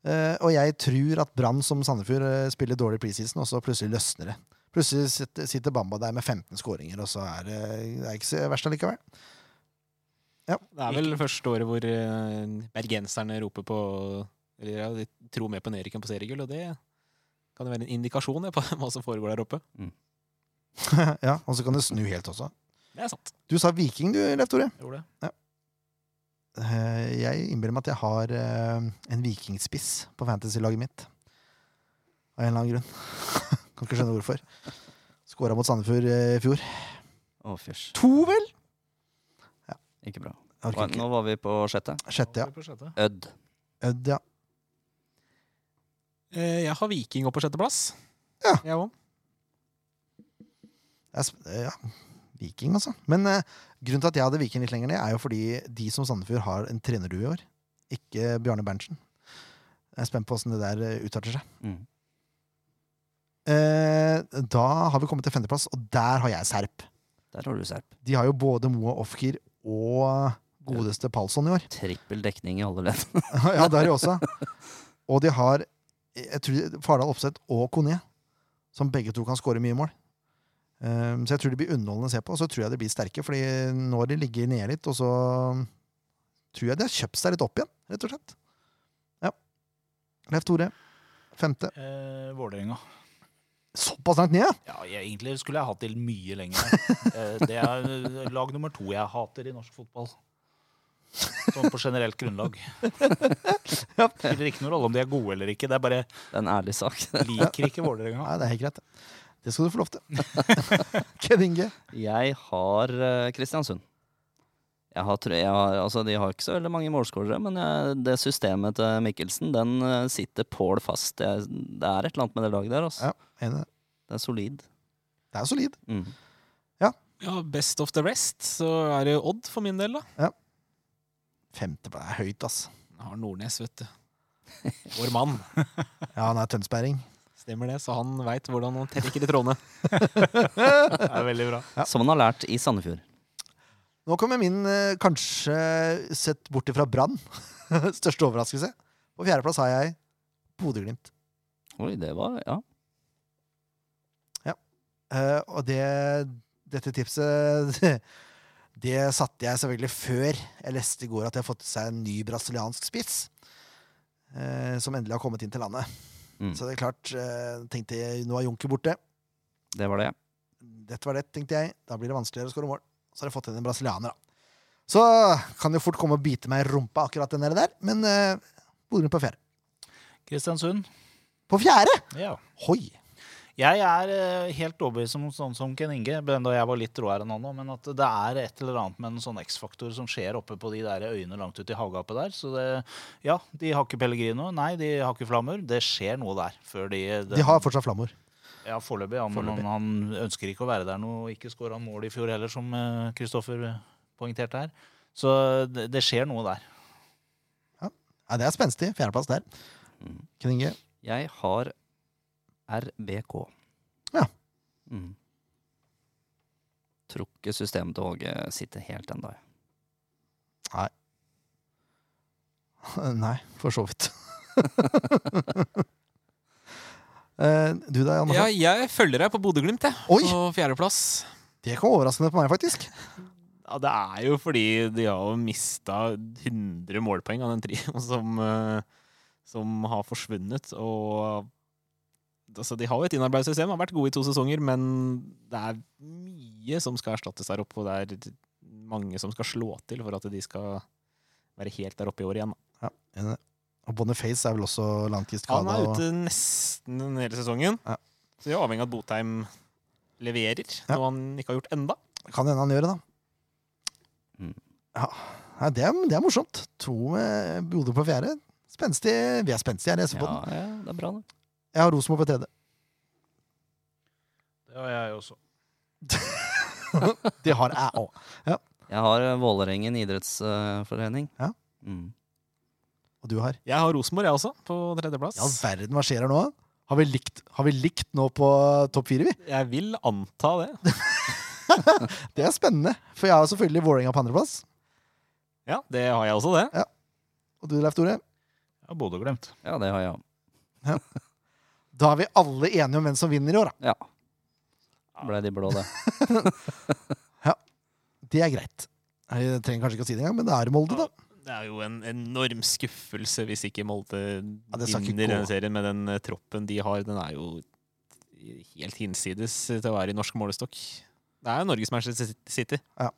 Eh, og jeg tror at Brann som Sandefjord eh, spiller dårlig preseason, og så plutselig løsner det. Plutselig sitter, sitter Bamba der med 15 skåringer, og så er det, det er ikke så verst allikevel.
Det er vel første året hvor eh, bergenserne roper på Eller ja, de tror mer på nedrykken på seriegull, og det kan jo være en indikasjon ja, på hva som foregår der oppe.
ja, og så kan det snu helt også.
Det er sant.
Du sa Viking, du, Leif Tore.
Jeg Gjorde det.
Eh, jeg innbiller meg at jeg har eh, en vikingspiss på fantasy-laget mitt. Av en eller annen grunn. kan ikke skjønne hvorfor. Skåra mot Sandefjord eh, i fjor.
Å, fysj.
To, vel?
Ikke bra.
Jeg orker ikke.
Nå var vi på sjette.
Sjette, ja.
På sjette.
Ødd.
Ødd, ja.
Eh, Jeg har Viking opp på sjetteplass.
Ja.
Jeg òg.
Jeg sp- eh, ja. Viking, altså. Men eh, grunnen til at jeg hadde Viking litt lenger ned, er jo fordi de som Sandefjord har en trenerdue i år. Ikke Bjarne Berntsen. Jeg er spent på åssen det der eh, utarter seg.
Mm.
Eh, da har vi kommet til femteplass, og der har jeg Serp.
Der har du Serp.
De har jo både Moa Ofkir og godeste Palsson i år.
Trippel dekning i alle ledd.
ja, det har de også. Og de har jeg tror Fardal Opseth og Kone, som begge to kan skåre mye mål. Ehm, så jeg tror de blir underholdende å se på, og så tror jeg de blir sterke. Fordi nå har de ligget nede litt, og så tror jeg de har kjøpt seg litt opp igjen, rett og slett. Ja. Leif Tore, femte.
Eh, Vålerenga.
Såpass langt ned, ja!
Ja, jeg, egentlig skulle jeg hatt det mye lenger. Eh, Det er eh, lag nummer to jeg hater i norsk fotball. Sånn på generelt grunnlag.
Ja.
Spiller ikke noen rolle om de er gode eller ikke. Det er bare
Det er en ærlig sak.
liker ikke Vålerenga.
Nei, det er helt greit. Det skal du få lov til. Ken Inge.
Jeg har eh, Kristiansund. Jeg har, tre- jeg har, altså, de har ikke så veldig mange målskårere, men jeg, det systemet til Mikkelsen den eh, sitter pål fast. Jeg, det er et eller annet med det laget der. Altså.
Ja. Enig.
Det er solid.
Det er solid.
Mm.
Ja, best of the rest, så er det Odd for min del, da.
Femte det er høyt, ass.
Jeg har Nordnes, vet du. Vår mann.
Ja, han er tønsberring.
Stemmer det, så han veit hvordan han trekker i trådene.
Det er veldig bra.
Som han har lært i Sandefjord.
Nå kommer min eh, kanskje sett bort ifra Brann. Største overraskelse. På fjerdeplass har jeg Bodø-Glimt.
Oi, det var Ja.
Eh, og det, dette tipset Det satte jeg selvfølgelig før jeg leste i går at de har fått seg en ny brasiliansk spiss. eh, som endelig har kommet inn til landet.
Mm.
Så det er klart, eh, tenkte jeg, nå er Junker borte.
Det var det.
Dette var det, tenkte jeg. Da blir det vanskeligere å skåre mål. Så har jeg fått inn en brasilianer, da. Så kan det jo fort komme og bite meg i rumpa, akkurat den der, der. men uh, Bodø på fjerde.
Kristiansund.
På fjerde!
Ja.
Hoi!
Jeg er eh, helt overbevist om sånn som Ken Inge, da jeg var litt råere enn han nå, men at det er et eller annet med en sånn X-faktor som skjer oppe på de der øyene langt ute i havgapet der. Så det, ja, de har ikke Pellegrino. Nei, de har ikke Flammer. Det skjer noe der før de
De har fortsatt flammor.
Ja, foreløpig. Ja, men
Foreløpig.
Han, han ønsker ikke å være der noe. Ikke skåra han mål i fjor heller, som eh, Kristoffer eh, poengterte her. Så det, det skjer noe der.
Ja, det er spenstig. Fjerdeplass der.
Mm.
Kninge.
Jeg har RBK.
Ja.
Mm. Tror ikke systemet til Åge sitter helt ennå. jeg.
Nei, for så vidt. Eh, du da, Jan?
Ja, jeg følger deg på Bodø-Glimt, jeg.
Oi!
På fjerdeplass.
Det kom overraskende på meg, faktisk.
Ja, det er jo fordi de har jo mista 100 målpoeng av den trioen som, eh, som har forsvunnet. Og altså, de har jo et innarbeidet system, har vært gode i to sesonger, men det er mye som skal erstattes der oppe, og det er mange som skal slå til for at de skal være helt der oppe i år igjen. da.
Ja, enig. Og Boniface er vel også
Han
langtidskada.
er
Og...
ute nesten den hele sesongen,
Ja.
så de er avhengig av at Botheim leverer,
Ja.
noe han ikke har gjort enda.
Kan hende han gjør det, da.
Mm.
Ja. Nei, det, er, det er morsomt. To med Bodø på fjerde. Spenstig. Vi er spenstige her i SV-podden.
Ja, ja, det er bra, det.
Jeg har Rosenborg på tredje.
Det har jeg også.
Det har jeg òg.
Jeg har eh, Vålerengen idrettsforening.
Ja.
Mm.
Og du har?
Jeg har Rosenborg, jeg også, på tredjeplass.
Ja, verden, hva skjer her nå? Har vi likt, har vi likt nå på topp fire, vi?
Jeg vil anta det.
Det er spennende. For jeg har selvfølgelig Vålerenga på andreplass.
Ja, det har jeg også, det.
Og du, Leif Tore?
Ja, Bodø-Glimt.
Ja, det har jeg òg.
Da er vi alle enige om hvem som vinner i år, da.
Ja.
Ah.
Ble de blå, det.
Det er greit. Jeg trenger kanskje ikke å si det engang, men det er Molde, da.
Det er jo en enorm skuffelse hvis ikke Molde
det skal
vinner
ikke gå.
denne serien med den eh, troppen de har. Den er jo helt hinsides til å være i norsk målestokk. Det er jo Norges Manchester City.
Ja,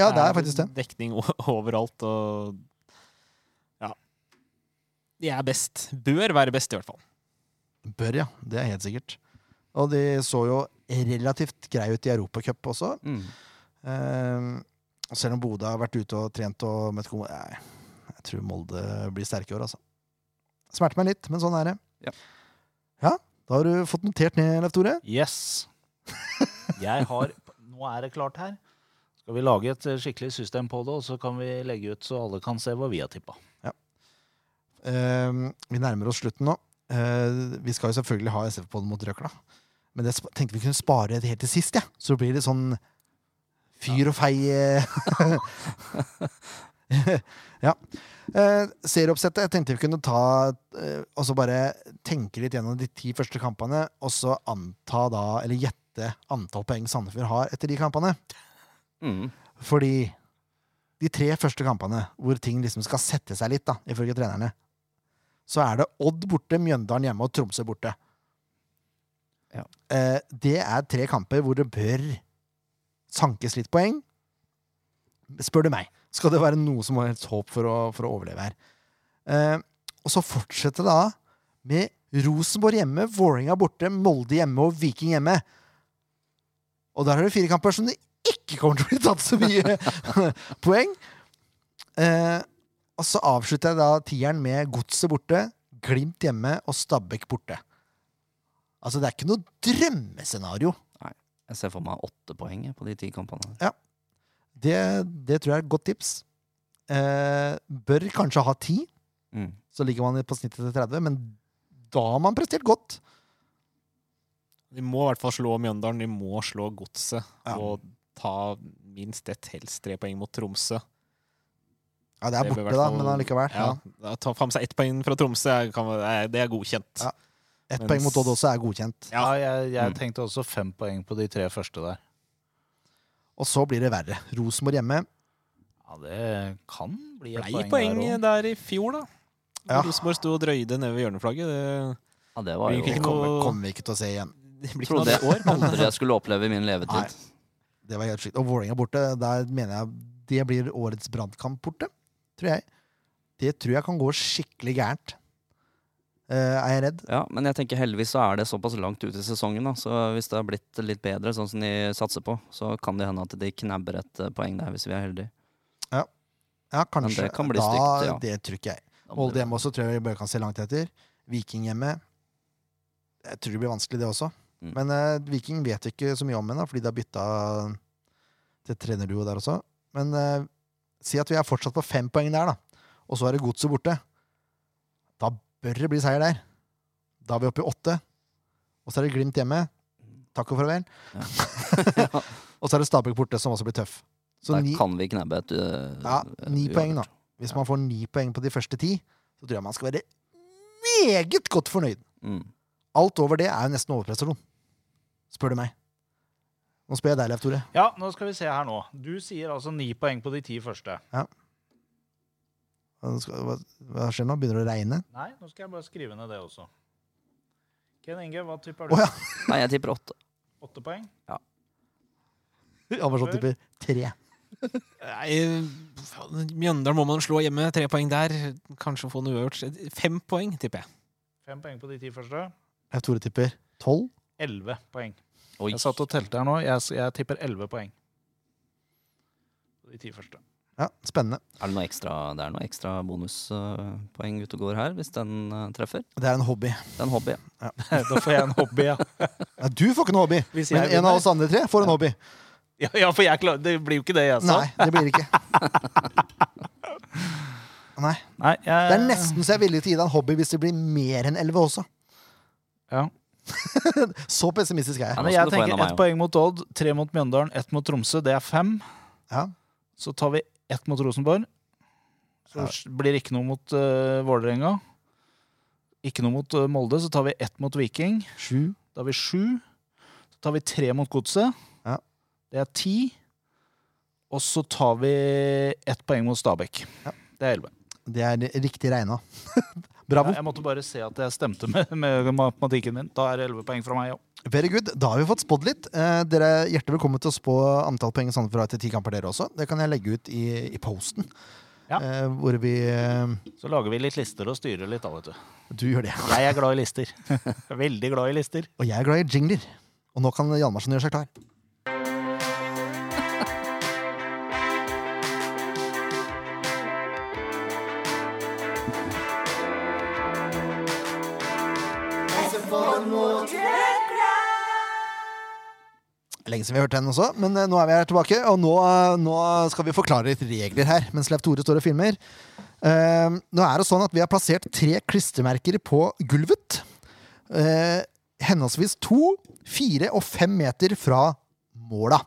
ja, det er faktisk det.
Dekning o- overalt og Ja. De er best. Bør være best, i hvert fall.
Bør, ja. Det er helt sikkert. Og de så jo relativt greie ut i Europacup også.
Mm.
Eh, og selv om Bodø har vært ute og trent og møtt gode Nei, jeg tror Molde blir sterke i år, altså. Smerter meg litt, men sånn er det.
Ja.
Ja, da har du fått notert ned, Leif Tore.
Yes. Jeg har Nå er det klart her. Skal vi lage et eh, skikkelig system på det, og så kan vi legge ut så alle kan se hva vi har tippa.
Eh, vi nærmer oss slutten nå. Eh, vi skal jo selvfølgelig ha SF på den mot Røkla. Men det sp- tenkte vi kunne spare det helt til sist, ja. så blir det sånn fyr og fei. eh. ja. Eh, serieoppsettet jeg tenkte vi kunne ta eh, og så bare tenke litt gjennom de ti første kampene, og så anta da, eller gjette antall poeng Sandefjord har etter de kampene.
Mm.
Fordi de tre første kampene hvor ting liksom skal sette seg litt, da, ifølge trenerne, så er det Odd borte, Mjøndalen hjemme og Tromsø borte.
Ja.
Eh, det er tre kamper hvor det bør sankes litt poeng. Spør du meg. Skal det være noe som helst håp for å, for å overleve her? Eh, og så fortsette da med Rosenborg hjemme, Vålerenga borte, Molde hjemme og Viking hjemme. Og der har du fire kamper som det ikke kommer til å bli tatt så mye poeng. Eh, og så avslutter jeg da tieren med Godset borte, Glimt hjemme og Stabæk borte. Altså, det er ikke noe drømmescenario.
Jeg ser for meg åtte poeng jeg, på de ti kampene.
Det, det tror jeg er et godt tips. Eh, bør kanskje ha ti,
Mm.
så ligger man på snittet til 30, men da har man prestert godt.
De må i hvert fall slå Mjøndalen, de må slå Godset.
Ja.
Og ta minst ett, helst tre poeng mot Tromsø.
Ja, det er
Det bør i
borte,
hvert
da,
fall-
men allikevel.
Ja,
Ja.
da Ta fram seg ett poeng fra Tromsø, er- kan, være- det er godkjent.
Ja. Ett
Mens-
poeng mot Odd også er godkjent.
Ja,
Ja.
jeg, jeg
Mm.
tenkte også fem poeng på de tre første der.
Og så blir det verre. Rosenborg hjemme.
Ja, det kan bli et
Det ble
poeng, der òg.
poeng der i fjor, da.
Ja.
Rosenborg sto og drøyde nede ved hjørneflagget. Det,
Ja, det var
Vi
jo
fikk
Det
noe-
kommer, kommer vi ikke til å se igjen.
det blir ikke
Trodde
noe av det i
jeg
år. Men
aldri jeg skulle oppleve i min
Nei.
levetid.
Det var helt sjukt. Og Vålerenga borte, der mener jeg det blir årets brannkamp borte. Tror jeg. Det tror jeg kan gå skikkelig gærent. Eh, er jeg redd?
Ja, Men jeg tenker heldigvis så er det såpass langt ut i sesongen, da. Så hvis det har blitt litt bedre, sånn som de satser på, så kan det hende at de knabber et eh, poeng der, hvis vi er heldige.
Ja, kanskje.
det kan bli
da,
stygt, ja.
Det tror ikke jeg.
Da må
Molde
det-
hjemme også tror jeg vi bare kan se langt etter. Viking hjemme. Jeg tror det blir vanskelig, det også.
Mm.
Men eh, Viking vet vi ikke så mye om ennå, fordi de har bytta til trenerduo der også. Men eh, si at vi er fortsatt på fem poeng der, da. Og så er det godset borte. Da bør det bli seier der. Da er vi oppe i åtte. Og så er det Glimt hjemme. Takk og farvel. og så er det Stabæk borte, som også blir tøff. Så
Der
ni,
kan vi knabbe et eh,
Ja, ni
uavgjort.
poeng, da. hvis man får ni poeng på de første ti, så tror jeg man skal være meget godt fornøyd.
Mm.
Alt over det er jo nesten overprestasjon. Spør du meg. Nå spør jeg deg, Leif Tore.
Ja, nå skal vi se her nå. Du sier altså ni poeng på de ti første.
Hva skal- hva- Hva skjer nå? Begynner det å regne?
Nei, nå skal jeg bare skrive ned det også. Ken Inge, hva tipper
Å
du?
ja!
Nei, jeg tipper åtte.
Åtte poeng?
Amazon tipper tre.
Nei, faen, Mjøndalen må man slå hjemme. Tre poeng der. Kanskje få noe uavgjort. Fem poeng, tipper jeg.
Fem poeng på de ti første.
Leif Tore tipper tolv.
Elleve poeng.
Oi.
Jeg satt og telte her nå. Jeg, s- jeg tipper elleve poeng. På de ti første.
Ja, spennende.
Er det noe ekstra, det er noe ekstra bonuspoeng ute og går her, hvis den eh, treffer?
Det er en hobby.
Det er en hobby.
da får jeg en hobby, ja.
Ja, du får ikke noe hobby,
Hvis
men
jeg
en av
vinner.
oss andre tre får en hobby.
Ja, ja for jeg klar, det blir jo ikke det jeg sa.
Nei, det blir det ikke. Nei.
Nei, jeg,
Det er nesten så jeg er villig til å gi deg en hobby hvis det blir mer enn elleve også.
Ja.
Så pessimistisk er jeg.
Ja, men
Nå skal
jeg
du få en av
tenker
meg
ett poeng mot Odd, tre mot Mjøndalen, ett mot Tromsø. Det er fem.
Ja.
Så tar vi ett mot Rosenborg. Så
Ja.
s- blir det ikke noe mot uh, Vålerenga. Ikke noe mot eh, Molde. Så tar vi ett mot Viking.
Sju.
Da har vi sju. Så tar vi tre mot Godset.
Ja.
Det er ti. Og så tar vi ett poeng mot Stabæk.
Ja.
Det er elleve.
Det er riktig regna. Bravo.
Jeg måtte bare se at jeg stemte med, med matematikken min. Da er det elleve poeng fra meg òg.
Very good. Da har vi fått spådd litt. Eh, dere er hjertelig velkommen til å spå antall poeng Sandefjord har etter ti kamper, dere også. Det kan jeg legge ut i, i posten.
Ja.
Eh, hvor vi eh,
Så lager vi litt lister og styrer litt, da, vet du.
Du gjør det.
Jeg er glad i lister. Veldig glad i lister.
Og jeg er glad i jingler. Og nå kan Hjalmarsson gjøre seg klar. Lenge siden vi har hørt den også, men eh, nå er vi her tilbake. Og nå, eh, nå skal vi forklare litt regler her, mens Leif Tore står og filmer. Eh, nå er det sånn at vi har plassert tre klistremerker på gulvet. Eh, henholdsvis to, fire og fem meter fra måla.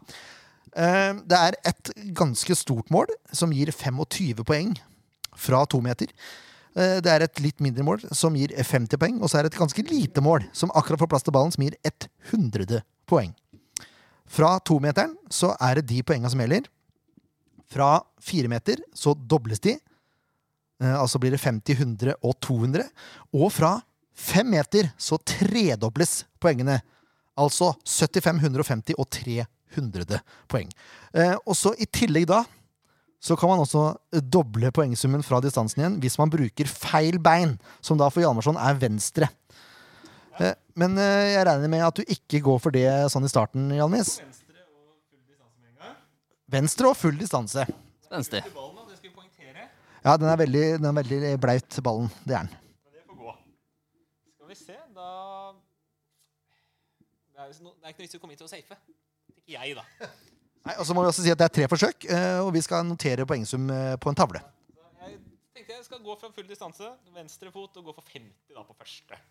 Eh, det er et ganske stort mål som gir 25 poeng fra to meter. Eh, det er et litt mindre mål som gir 50 poeng, og så er det et ganske lite mål som akkurat får plass til ballen, som gir 100 poeng. Fra tometeren så er det de poenga som gjelder. Fra fire meter så dobles de. Eh, altså blir det 50, 100 og 200. Og fra fem meter så tredobles poengene. Altså 75, 150 og 300 poeng. Eh, og så i tillegg da så kan man også doble poengsummen fra distansen igjen hvis man bruker feil bein, som da for Hjalmarsson er venstre. Eh, Men eh, jeg regner med at du ikke går for det sånn i starten, Hjalmis? Venstre og full distanse.
Spenstig.
Ja, den er veldig, den er veldig eh, blaut, ballen. Det er den.
Skal vi se, da Det er, ikke noe vits i å komme hit og safe. Ikke jeg, da.
Nei, og så må vi også si at det er tre forsøk, eh, og vi skal notere poengsum eh, på en tavle.
Jeg tenkte jeg skal gå fra full distanse, venstre fot, og gå for 50 da på første.